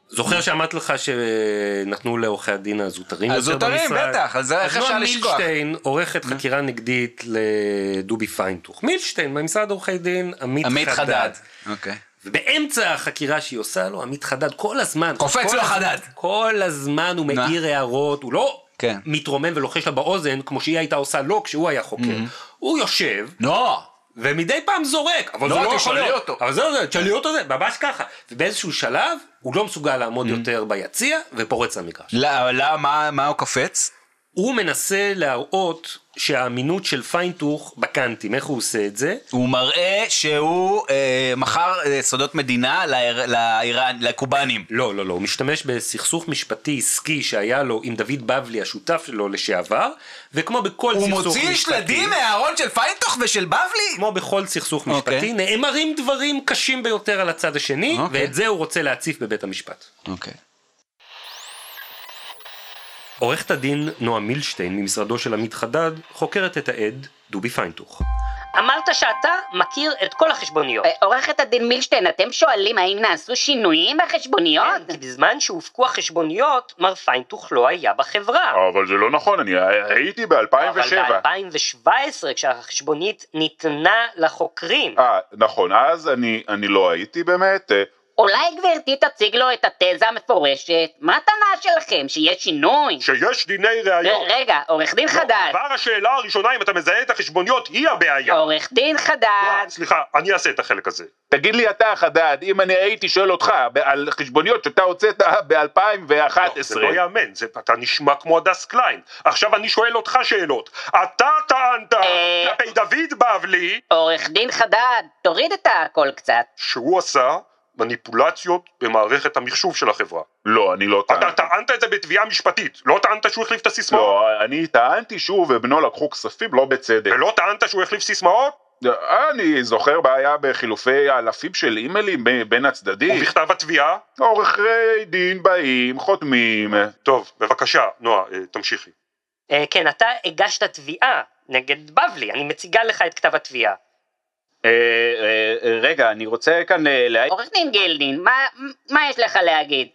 זוכר שאמרתי לך שנתנו לעורכי הדין הזוטרים יותר במשרד?
הזוטרים, בטח, אז זה- איך אפשר לשכוח?
אז נועה מילשטיין עורכת חקירה נגדית לדובי פיינטוך. מילשטיין, ממשרד עורכי דין, עמית,
עמית חדד.
חדד.
אוקיי.
ובאמצע החקירה שהיא עושה לו, עמית חדד כל הזמן...
קופץ
כל
לו
הזמן-
חדד.
כל הזמן הוא
מה?
מעיר הערות, הוא לא
כן.
מתרומם ולוחש לה באוזן, כמו שהיא הייתה עושה לו כשהוא היה חוקר. הוא יושב,
לא!
ומדי פעם זורק, אבל
לא,
זה לא יכול
תשאלי
להיות.
אותו.
אבל זה, זה, תשאלי אותו זה, ממש ככה. ובאיזשהו שלב, הוא לא מסוגל
Mm.
לעמוד יותר ביציע, ופורץ למגרש.
לא, לא, מה- מה הוא קופץ?
הוא מנסה להראות שהאמינות של פיינטוך בקאנטים, איך הוא עושה את זה?
הוא מראה שהוא אה, מכר אה, סודות מדינה לאיר- לאיראן, לקובנים.
לא, לא, לא, הוא משתמש בסכסוך משפטי עסקי שהיה לו עם דוד בבלי, השותף שלו לשעבר, וכמו בכל
הוא
סכסוך משפטי...
מוציא שלדים מהארון של פיינטוך ושל בבלי?
כמו בכל סכסוך
אוקיי.
משפטי, נאמרים דברים קשים ביותר על הצד השני,
אוקיי.
ואת זה הוא רוצה להציף בבית המשפט.
אוקיי.
עורכת הדין נועה מילשטיין ממשרדו של עמית חדד חוקרת את העד דובי פיינטוך.
אמרת שאתה מכיר את כל החשבוניות.
אה, עורכת הדין מילשטיין, אתם שואלים האם נעשו שינויים בחשבוניות?
כן, כי בזמן שהופקו החשבוניות, מר פיינטוך לא היה בחברה.
אבל זה לא נכון, אני הייתי ב-2007.
אבל ב-2017, כשהחשבונית ניתנה לחוקרים,
אה, נכון, אז אני, אני לא הייתי באמת. אה,
אולי גברתי תציג לו את התזה המפורשת? מה הטענה שלכם, שיש שינוי?
שיש דיני ראיות.
ר- רגע, עורך
לא,
דין חדש, לא.
כבר השאלה הראשונה אם אתה מזהה את החשבוניות היא הבעיה.
עורך דין חדש.
סליחה, אני אעשה את החלק הזה.
תגיד לי אתה, חדד, אם אני הייתי שואל אותך ב- על חשבוניות שאתה הוצאת ב-2011.
לא, זה לא ייאמן, זה- אתה נשמע כמו הדס קליין. עכשיו אני שואל אותך שאלות. אתה טענת
אה.
כלפי דוד בבלי
עורך דין חדד, תוריד את הקול קצת.
שהוא עשה מניפולציות במערכת המחשוב של החברה.
לא, אני לא
אתה
טענתי.
טענת את זה בתביעה משפטית, לא טענת שהוא החליף את הסיסמאות?
לא, אני טענתי שהוא ובנו לקחו כספים לא בצדק.
ולא טענת שהוא החליף סיסמאות?
אני זוכר בעיה בחילופי אלפים של אימיילים ב- בין הצדדים.
ובכתב התביעה?
עורכי דין באים, חותמים.
טוב, בבקשה, נועה, אה, תמשיכי.
אה, כן, אתה הגשת תביעה נגד בבלי, אני מציגה לך את כתב התביעה.
רגע, אני רוצה כאן אה, להעיר,
עורך דין גילדין, מה- מה יש לך להגיד?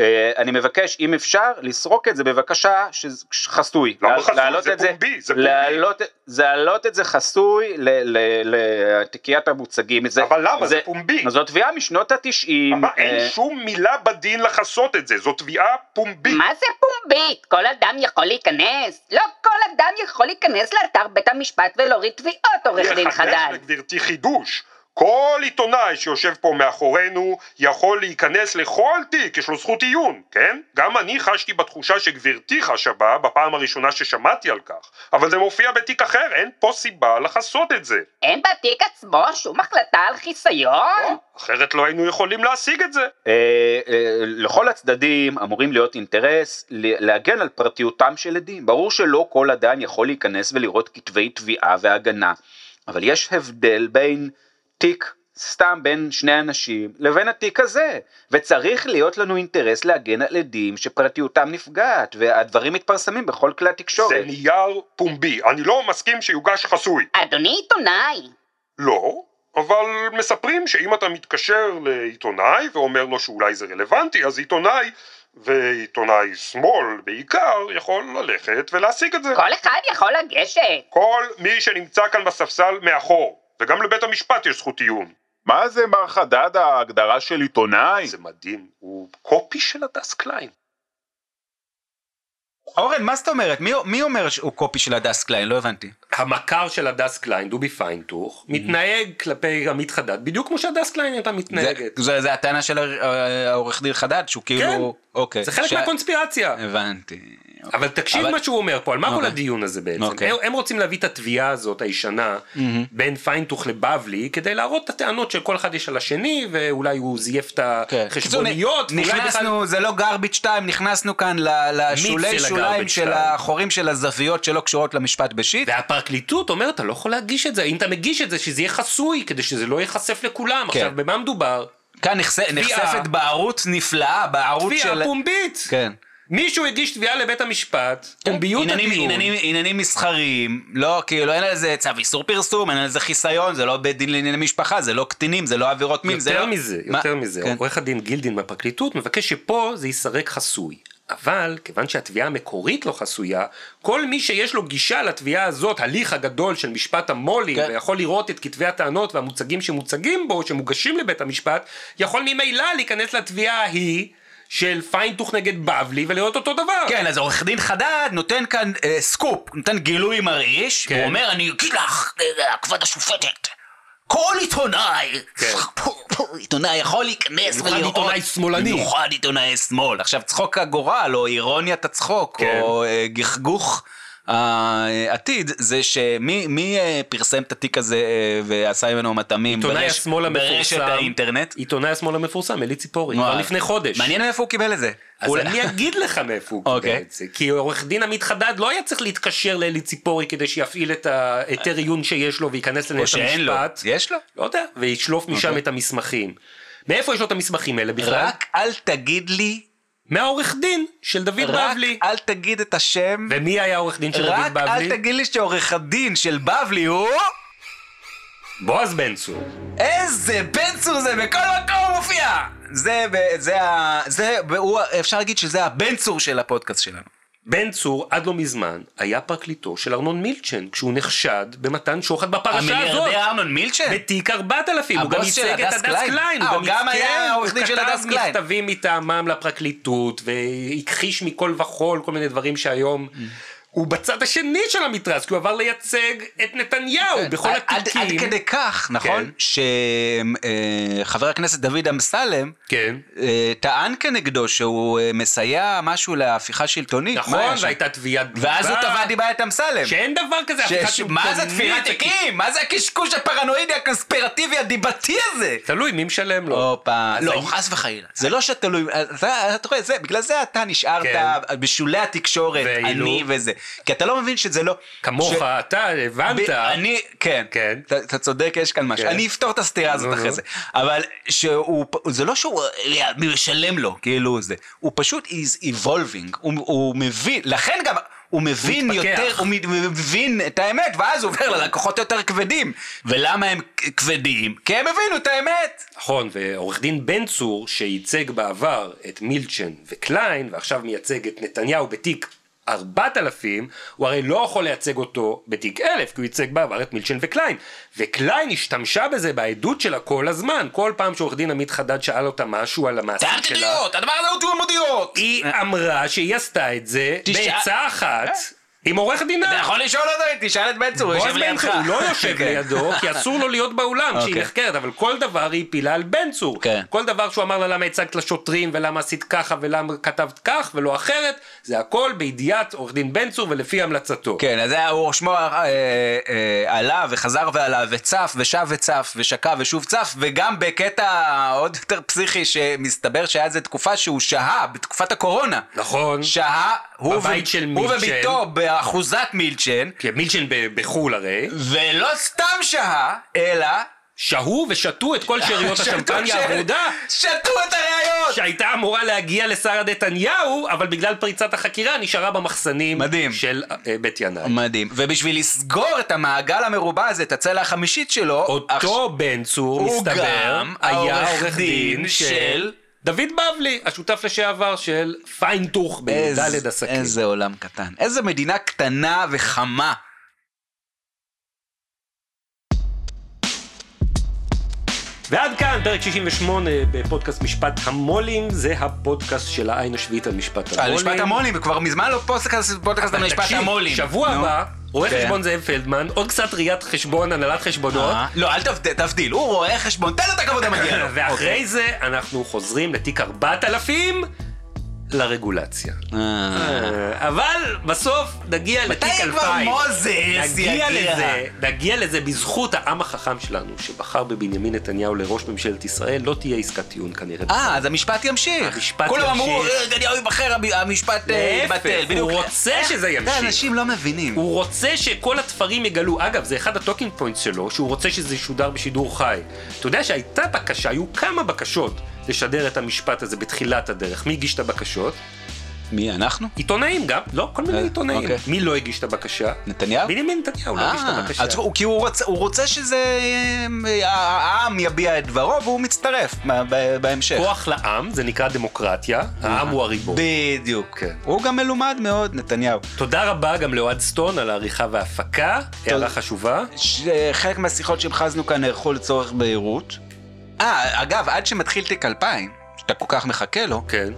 אה, אני מבקש, אם אפשר, לסרוק את זה בבקשה, שזה חסוי.
למה
לה-
חסוי?
להעלות
זה
את זה-
פומבי, זה פומבי.
להעלות, זה להעלות את זה חסוי ל- ל- לתיקיית המוצגים. זה-
אבל למה? זה פומבי.
אז זו תביעה משנות התשעים.
אבל אין שום מילה בדין לכסות את זה, זו תביעה פומבית.
מה זה פומבית? כל אדם יכול להיכנס? לא כל אדם יכול להיכנס לאתר בית המשפט ולהוריד תביעות, עורך דין
לחדש
חדד.
לגברתי חידוש. כל עיתונאי שיושב פה מאחורינו יכול להיכנס לכל תיק, יש לו זכות עיון, כן? גם אני חשתי בתחושה שגברתי חשה בה בפעם הראשונה ששמעתי על כך, אבל זה מופיע בתיק אחר, אין פה סיבה לחסות את זה.
אין בתיק עצמו שום החלטה על חיסיון?
אחרת לא היינו יכולים להשיג את זה.
אה, אה, לכל הצדדים אמורים להיות אינטרס ל- להגן על פרטיותם של עדים. ברור שלא כל אדם יכול להיכנס ולראות כתבי תביעה והגנה, אבל יש הבדל בין תיק סתם בין שני אנשים לבין התיק הזה, וצריך להיות לנו אינטרס להגן על עדים שפרטיותם נפגעת, והדברים מתפרסמים בכל כלי התקשורת.
זה נייר פומבי, אני לא מסכים שיוגש חסוי.
אדוני עיתונאי,
לא, אבל מספרים שאם אתה מתקשר לעיתונאי ואומר לו שאולי זה רלוונטי, אז עיתונאי, ועיתונאי שמאל בעיקר, יכול ללכת ולהשיג את זה.
כל אחד יכול לגשת.
כל מי שנמצא כאן בספסל מאחור, וגם לבית המשפט יש זכות עיון.
מה זה מר חדד ההגדרה של עיתונאי?
זה מדהים, הוא קופי של הדס קליין.
אורן, מה זאת אומרת? מי, מי אומר שהוא קופי של הדס קליין? לא הבנתי.
המכר של הדס קליין, דובי פיינטוך,
Mm-hmm.
מתנהג כלפי עמית חדד בדיוק כמו שהדס קליין הייתה
זה,
מתנהגת.
זה, זה הטענה של הר- אה, העורך דין חדד, שהוא כאילו... אוקיי.
כן. זה חלק
ש-
מהקונספירציה.
הבנתי.
אבל תקשיב
אבל-
מה שהוא אומר פה, על מה כל
אוקיי.
הדיון הזה בעצם?
אוקיי. Mm-hmm.
הם- הם רוצים להביא את התביעה הזאת, הישנה, בין פיינטוך לבבלי, כדי להראות את הטענות של כל אחד יש על השני, ואולי הוא זייף את
כן.
החשבוניות, ואולי בכלל-
נכנסנו, זה לא גרביץ' 2, נכנסנו כאן ל- לשולי
של
שוליים
הגרביץ'
של
time.
החורים של הזוויות שלא קשורות למשפט בשיט.
והפרקליטות אומרת, אתה לא יכול להגיש את זה, אם אתה מגיש את זה, שזה יהיה חסוי, כדי שזה לא ייחשף לכולם.
כן.
עכשיו, במה מדובר?
כאן נחש- נחשפת בערות נפלאה, בערות של...
תביעה פומבית.
כן.
מישהו הגיש תביעה לבית המשפט, פומביות
עניינים-
הדיון.
עניינים- עניינים מסחריים, לא, כאילו, אין על זה צו איסור פרסום, אין על זה חיסיון, זה לא בית דין לענייני משפחה, זה לא קטינים, זה לא עבירות מין, זה לא...
יותר מזה,
מה?
יותר מזה,
כן.
עורך הדין גילדין מהפרקליטות מבקש שפה זה ייסרק חסוי. אבל כיוון שהתביעה המקורית לא חסויה, כל מי שיש לו גישה לתביעה הזאת, הליך הגדול של משפט המו"לים,
כן.
ויכול לראות את כתבי הטענות והמוצגים שמוצגים בו, שמוגשים לבית המשפט, יכול ממילא להיכנס לתביעה ההיא של פיינטוך נגד בבלי ולראות אותו דבר.
כן, אז עורך דין חדד נותן כאן אה, סקופ, נותן גילוי מרעיש,
כן.
הוא אומר, אני אגיד לך, אה, כבוד השופטת, כל עיתונאי,
כן.
פו, פו, עיתונאי יכול להיכנס ולראות,
במיוחד עיתונאי שמאלני.
במיוחד עיתונאי שמאל, עכשיו צחוק הגורל, או אירוניית הצחוק,
כן.
או אה, גחגוך. העתיד זה שמי מי, אה, פרסם את התיק הזה אה, ועשה ממנו מטעמים
עיתונאי
ברש-
השמאל
ברשת
המפורסם,
האינטרנט?
עיתונאי השמאל המפורסם, אלי ציפורי, כבר
וואי.
לפני חודש.
מעניין מאיפה הוא קיבל את זה.
אז
אולי-
אני אגיד לך מאיפה הוא קיבל
אוקיי.
את זה, כי עורך דין עמית חדד לא היה צריך להתקשר לאלי ציפורי כדי שיפעיל את ההיתר עיון שיש לו וייכנס
אה. או
לנהל
שאין לו. כן.
המשפט,
יש לו?
לא יודע, וישלוף משם את המסמכים. מאיפה יש לו את המסמכים האלה בכלל?
רק אל תגיד לי
מהעורך דין של דוד
רק
בבלי.
אל תגיד את השם,
ומי היה העורך דין של
רק
דוד
אל
בבלי?
תגיד לי שעורך הדין של בבלי הוא...
בועז בן צור.
איזה בן צור זה, בכל מקום הוא מופיע! זה, ב- זה, ה- זה, ב- הוא ה- אפשר להגיד שזה הבן צור של הפודקאסט שלנו.
בן צור עד לא מזמן היה פרקליטו של ארנון מילצ'ן כשהוא נחשד במתן שוחד בפרשה הזאת.
המיליארדר ארנון מילצ'ן?
בתיק 4000, הוא גם
הבוס של
ייצג את
הדס
הדס
קליין.
קליין.
אה, הוא גם
עדכן,
היה העורך דין של הדס
הוא
קליין.
כתב מכתבים מטעמם לפרקליטות והכחיש מכל וכול כל מיני דברים שהיום... הוא בצד השני של המתרס, כי הוא עבר לייצג את נתניהו בכל
כן. עד- עד-
התיקים.
עד כדי כך, נכון? שחבר הכנסת דוד אמסלם
כן.
אה, טען כנגדו שהוא אה, מסייע משהו להפיכה שלטונית. מה היה
נכון,
שם?
והייתה תביעת דיבה.
ואז הוא תבע דיבה את אמסלם.
שאין דבר כזה,
ש-
הפיכה
ש- מה זה
שלטונית,
תפירת תיקים? מה זה הקשקוש הפרנואידי הקונספירטיבי הדיבתי הזה?
תלוי מי משלם לו.
הופה,
אז
לא,
אני-
חס וחלילה. זה לא שתלוי, אתה אתה רואה, זה- בגלל זה אתה נשארת
כן.
בשולי התקשורת,
ואילו-
אני וזה. כי אתה לא מבין שזה לא...
כמוך,
ש-
אתה הבנת.
ב- אני, כן,
כן.
אתה- אתה צודק, יש כאן משהו.
כן.
אני אפתור את הסתירה הזאת
נו,
אחרי
נו.
זה. אבל שהוא, פ- זה לא שהוא אה, מי משלם לו, כאילו זה. הוא פשוט is evolving, הוא- הוא מבין, לכן גם... הוא מבין
מתפכח.
יותר, הוא מת- מבין את האמת, ואז הוא עובר ללקוחות יותר כבדים. ולמה הם כ- כבדים? כי הם הבינו את האמת.
נכון, ועורך דין בן צור, שייצג בעבר את מילצ'ן וקליין, ועכשיו מייצג את נתניהו בתיק 4000, הוא הרי לא יכול לייצג אותו בתיק 1000, כי הוא ייצג בעבר את מילצ'ן וקליין. וקליין השתמשה בזה בעדות שלה כל הזמן, כל פעם שעורך דין עמית חדד שאל אותה משהו על המעשים
טעמת
שלה.
דעות, הדבר הזה הוא תיאומודיות.
היא אמרה שהיא עשתה את זה
תשאל-
בעצה אחת עם עורך דינה.
אתה יכול לשאול אותו, תשאל את בן צור, הוא יושב
בועז בן
לידך.
צור, הוא לא יושב
כן.
לידו, כי אסור לו להיות באולם כשהיא
אוקיי.
נחקרת, אבל כל דבר היא הפילה על בן צור.
כן.
כל דבר שהוא אמר לה למה הצגת לשוטרים, ולמה עשית ככה, ולמה כתבת כך, ולא אחרת, זה הכל בידיעת עורך דין בן צור ולפי המלצתו.
כן, אז זה היה, הוא שמו אה, אה, עלה וחזר ועלה וצף ושב וצף ושקע ושוב צף וגם בקטע עוד יותר פסיכי שמסתבר שהיה איזה תקופה שהוא שהה בתקופת הקורונה.
נכון.
שהה הוא,
בבית של
הוא
מילצ'ן.
וביתו באחוזת מילצ'ן
כי מילצ'ן ב- בחו"ל הרי,
ולא סתם שהה אלא
שהו ושתו את כל שאריות
שתו
השמפניה
של-
הוורודה.
שתו את הראיות!
שהייתה אמורה להגיע לשרה נתניהו, אבל בגלל פריצת החקירה נשארה במחסנים
מדהים.
של אה, בית ינאי.
מדהים. ובשביל לסגור את המעגל המרובע הזה, את הצלע החמישית שלו,
אותו בן צור,
הוא
מסתבר,
גם
היה
העורך
עורך
דין
דין
של-
של דוד בבלי, השותף לשעבר של פיינטוך בי"ד
איזה-
עסקים.
איזה עולם קטן. איזה מדינה קטנה וחמה.
ועד כאן, פרק 68 בפודקאסט משפט המו"לים, זה הפודקאסט של העין השביעית על משפט המו"לים.
על משפט המו"לים, וכבר מזמן לא פודקאסט פודקאסט על משפט
תקשיב,
המו"לים.
שבוע
נו.
הבא, רואה
כן.
חשבון זאב פלדמן, עוד קצת ראיית חשבון, הנהלת חשבונות.
אה, לא, אל תבד- תבדיל, הוא רואה חשבון, תן לו את הכבוד המגיע לו. אוקיי.
ואחרי זה אנחנו חוזרים לתיק 4000 לרגולציה. אה, אבל בסוף נגיע לתיק
מתי
אלפיים.
כבר מוזס יגיע?
נגיע לזה, נגיע לזה בזכות העם החכם שלנו, שבחר בבנימין נתניהו לראש ממשלת ישראל, לא תהיה עסקת טיעון כנראה.
אה, אז המשפט ימשיך.
המשפט
כולם
ימשיך.
אמרו, "אה, נתניהו ייבחר, המ- המשפט אה,
להפך,
יתבטל. בדיוק.
הוא רוצה שזה
אתה יודע,
ימשיך.
אנשים לא מבינים.
הוא רוצה שכל התפרים יגלו, אגב, זה אחד הטוקינג פוינט שלו, שהוא רוצה שזה ישודר בשידור חי. אתה יודע שהייתה בקשה, היו כמה בקשות לשדר את המשפט הזה בתחילת הדרך. מי הגיש את הבקשות?
מי, אנחנו?
עיתונאים גם, לא, כל מיני
אה,
עיתונאים.
אוקיי.
מי לא הגיש את הבקשה?
נתניהו?
בנימין נתניהו לא הגיש את
אה,
הבקשה.
אז הוא- כי הוא רוצה- הוא רוצה שזה... אה, העם יביע את דברו והוא מצטרף מה- ב- בהמשך.
כוח לעם, זה נקרא דמוקרטיה,
אה.
העם הוא הריבון.
בדיוק.
כן.
הוא גם מלומד מאוד, נתניהו.
תודה רבה גם לאוהד סטון על העריכה וההפקה, הערה חשובה.
ש- אה, חלק מהשיחות שהמחזנו כאן נערכו לצורך בהירות. אה, אגב, עד שמתחיל תיק 2000, שאתה כל כך מחכה לו,
כן.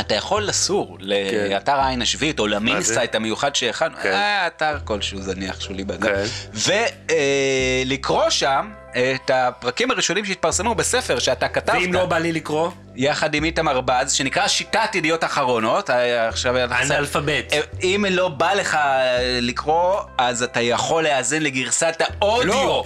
אתה יכול לסור
כן.
לאתר העין השביעית או למינסייט המיוחד שהכנו,
כן.
אה, אתר כלשהו זניח שולי באדם,
כן.
ולקרוא אה, שם את הפרקים הראשונים שהתפרסמו בספר שאתה כתבת,
ואם לא בא לי לקרוא,
יחד עם איתמר בז, שנקרא שיטת ידיעות אחרונות, אה, עכשיו...
לא- אנאלפבית.
אם לא בא לך לקרוא, אז אתה יכול להאזין לגרסת האודיו.
לא.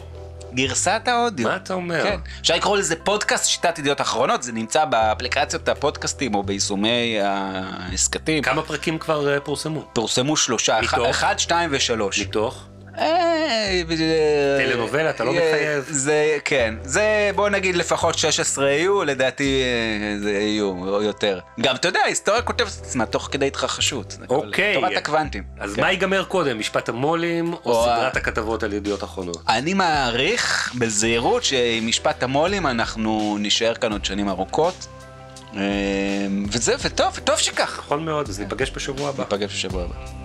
גרסת האודיו.
מה אתה אומר?
כן. אפשר לקרוא לזה פודקאסט שיטת ידיעות אחרונות, זה נמצא באפליקציות הפודקאסטים או ביישומי ההסכתים.
כמה פרקים כבר אה, פורסמו?
פורסמו שלושה, אח-
מתוך?
אחד, שתיים ושלוש.
מתוך?
אה, אה,
טלנובלה, אתה לא
אה,
מחייב.
זה, כן. זה, בוא נגיד לפחות 16 יהיו, לדעתי אה, זה יהיו, או יותר. גם, אתה יודע, ההיסטוריה כותבת את עצמה תוך כדי התרחשות. זה הכל.
אוקיי.
תורת הקוונטים.
אז
כן.
מה ייגמר קודם, משפט המו"לים או
או ה-
סדרת הכתבות על ידיעות אחרונות?
אני מעריך בזהירות שעם משפט המו"לים אנחנו נישאר כאן עוד שנים ארוכות. אה, וזה, וטוב, וטוב שכך.
נכון מאוד, אז ניפגש בשבוע הבא.
ניפגש בשבוע הבא.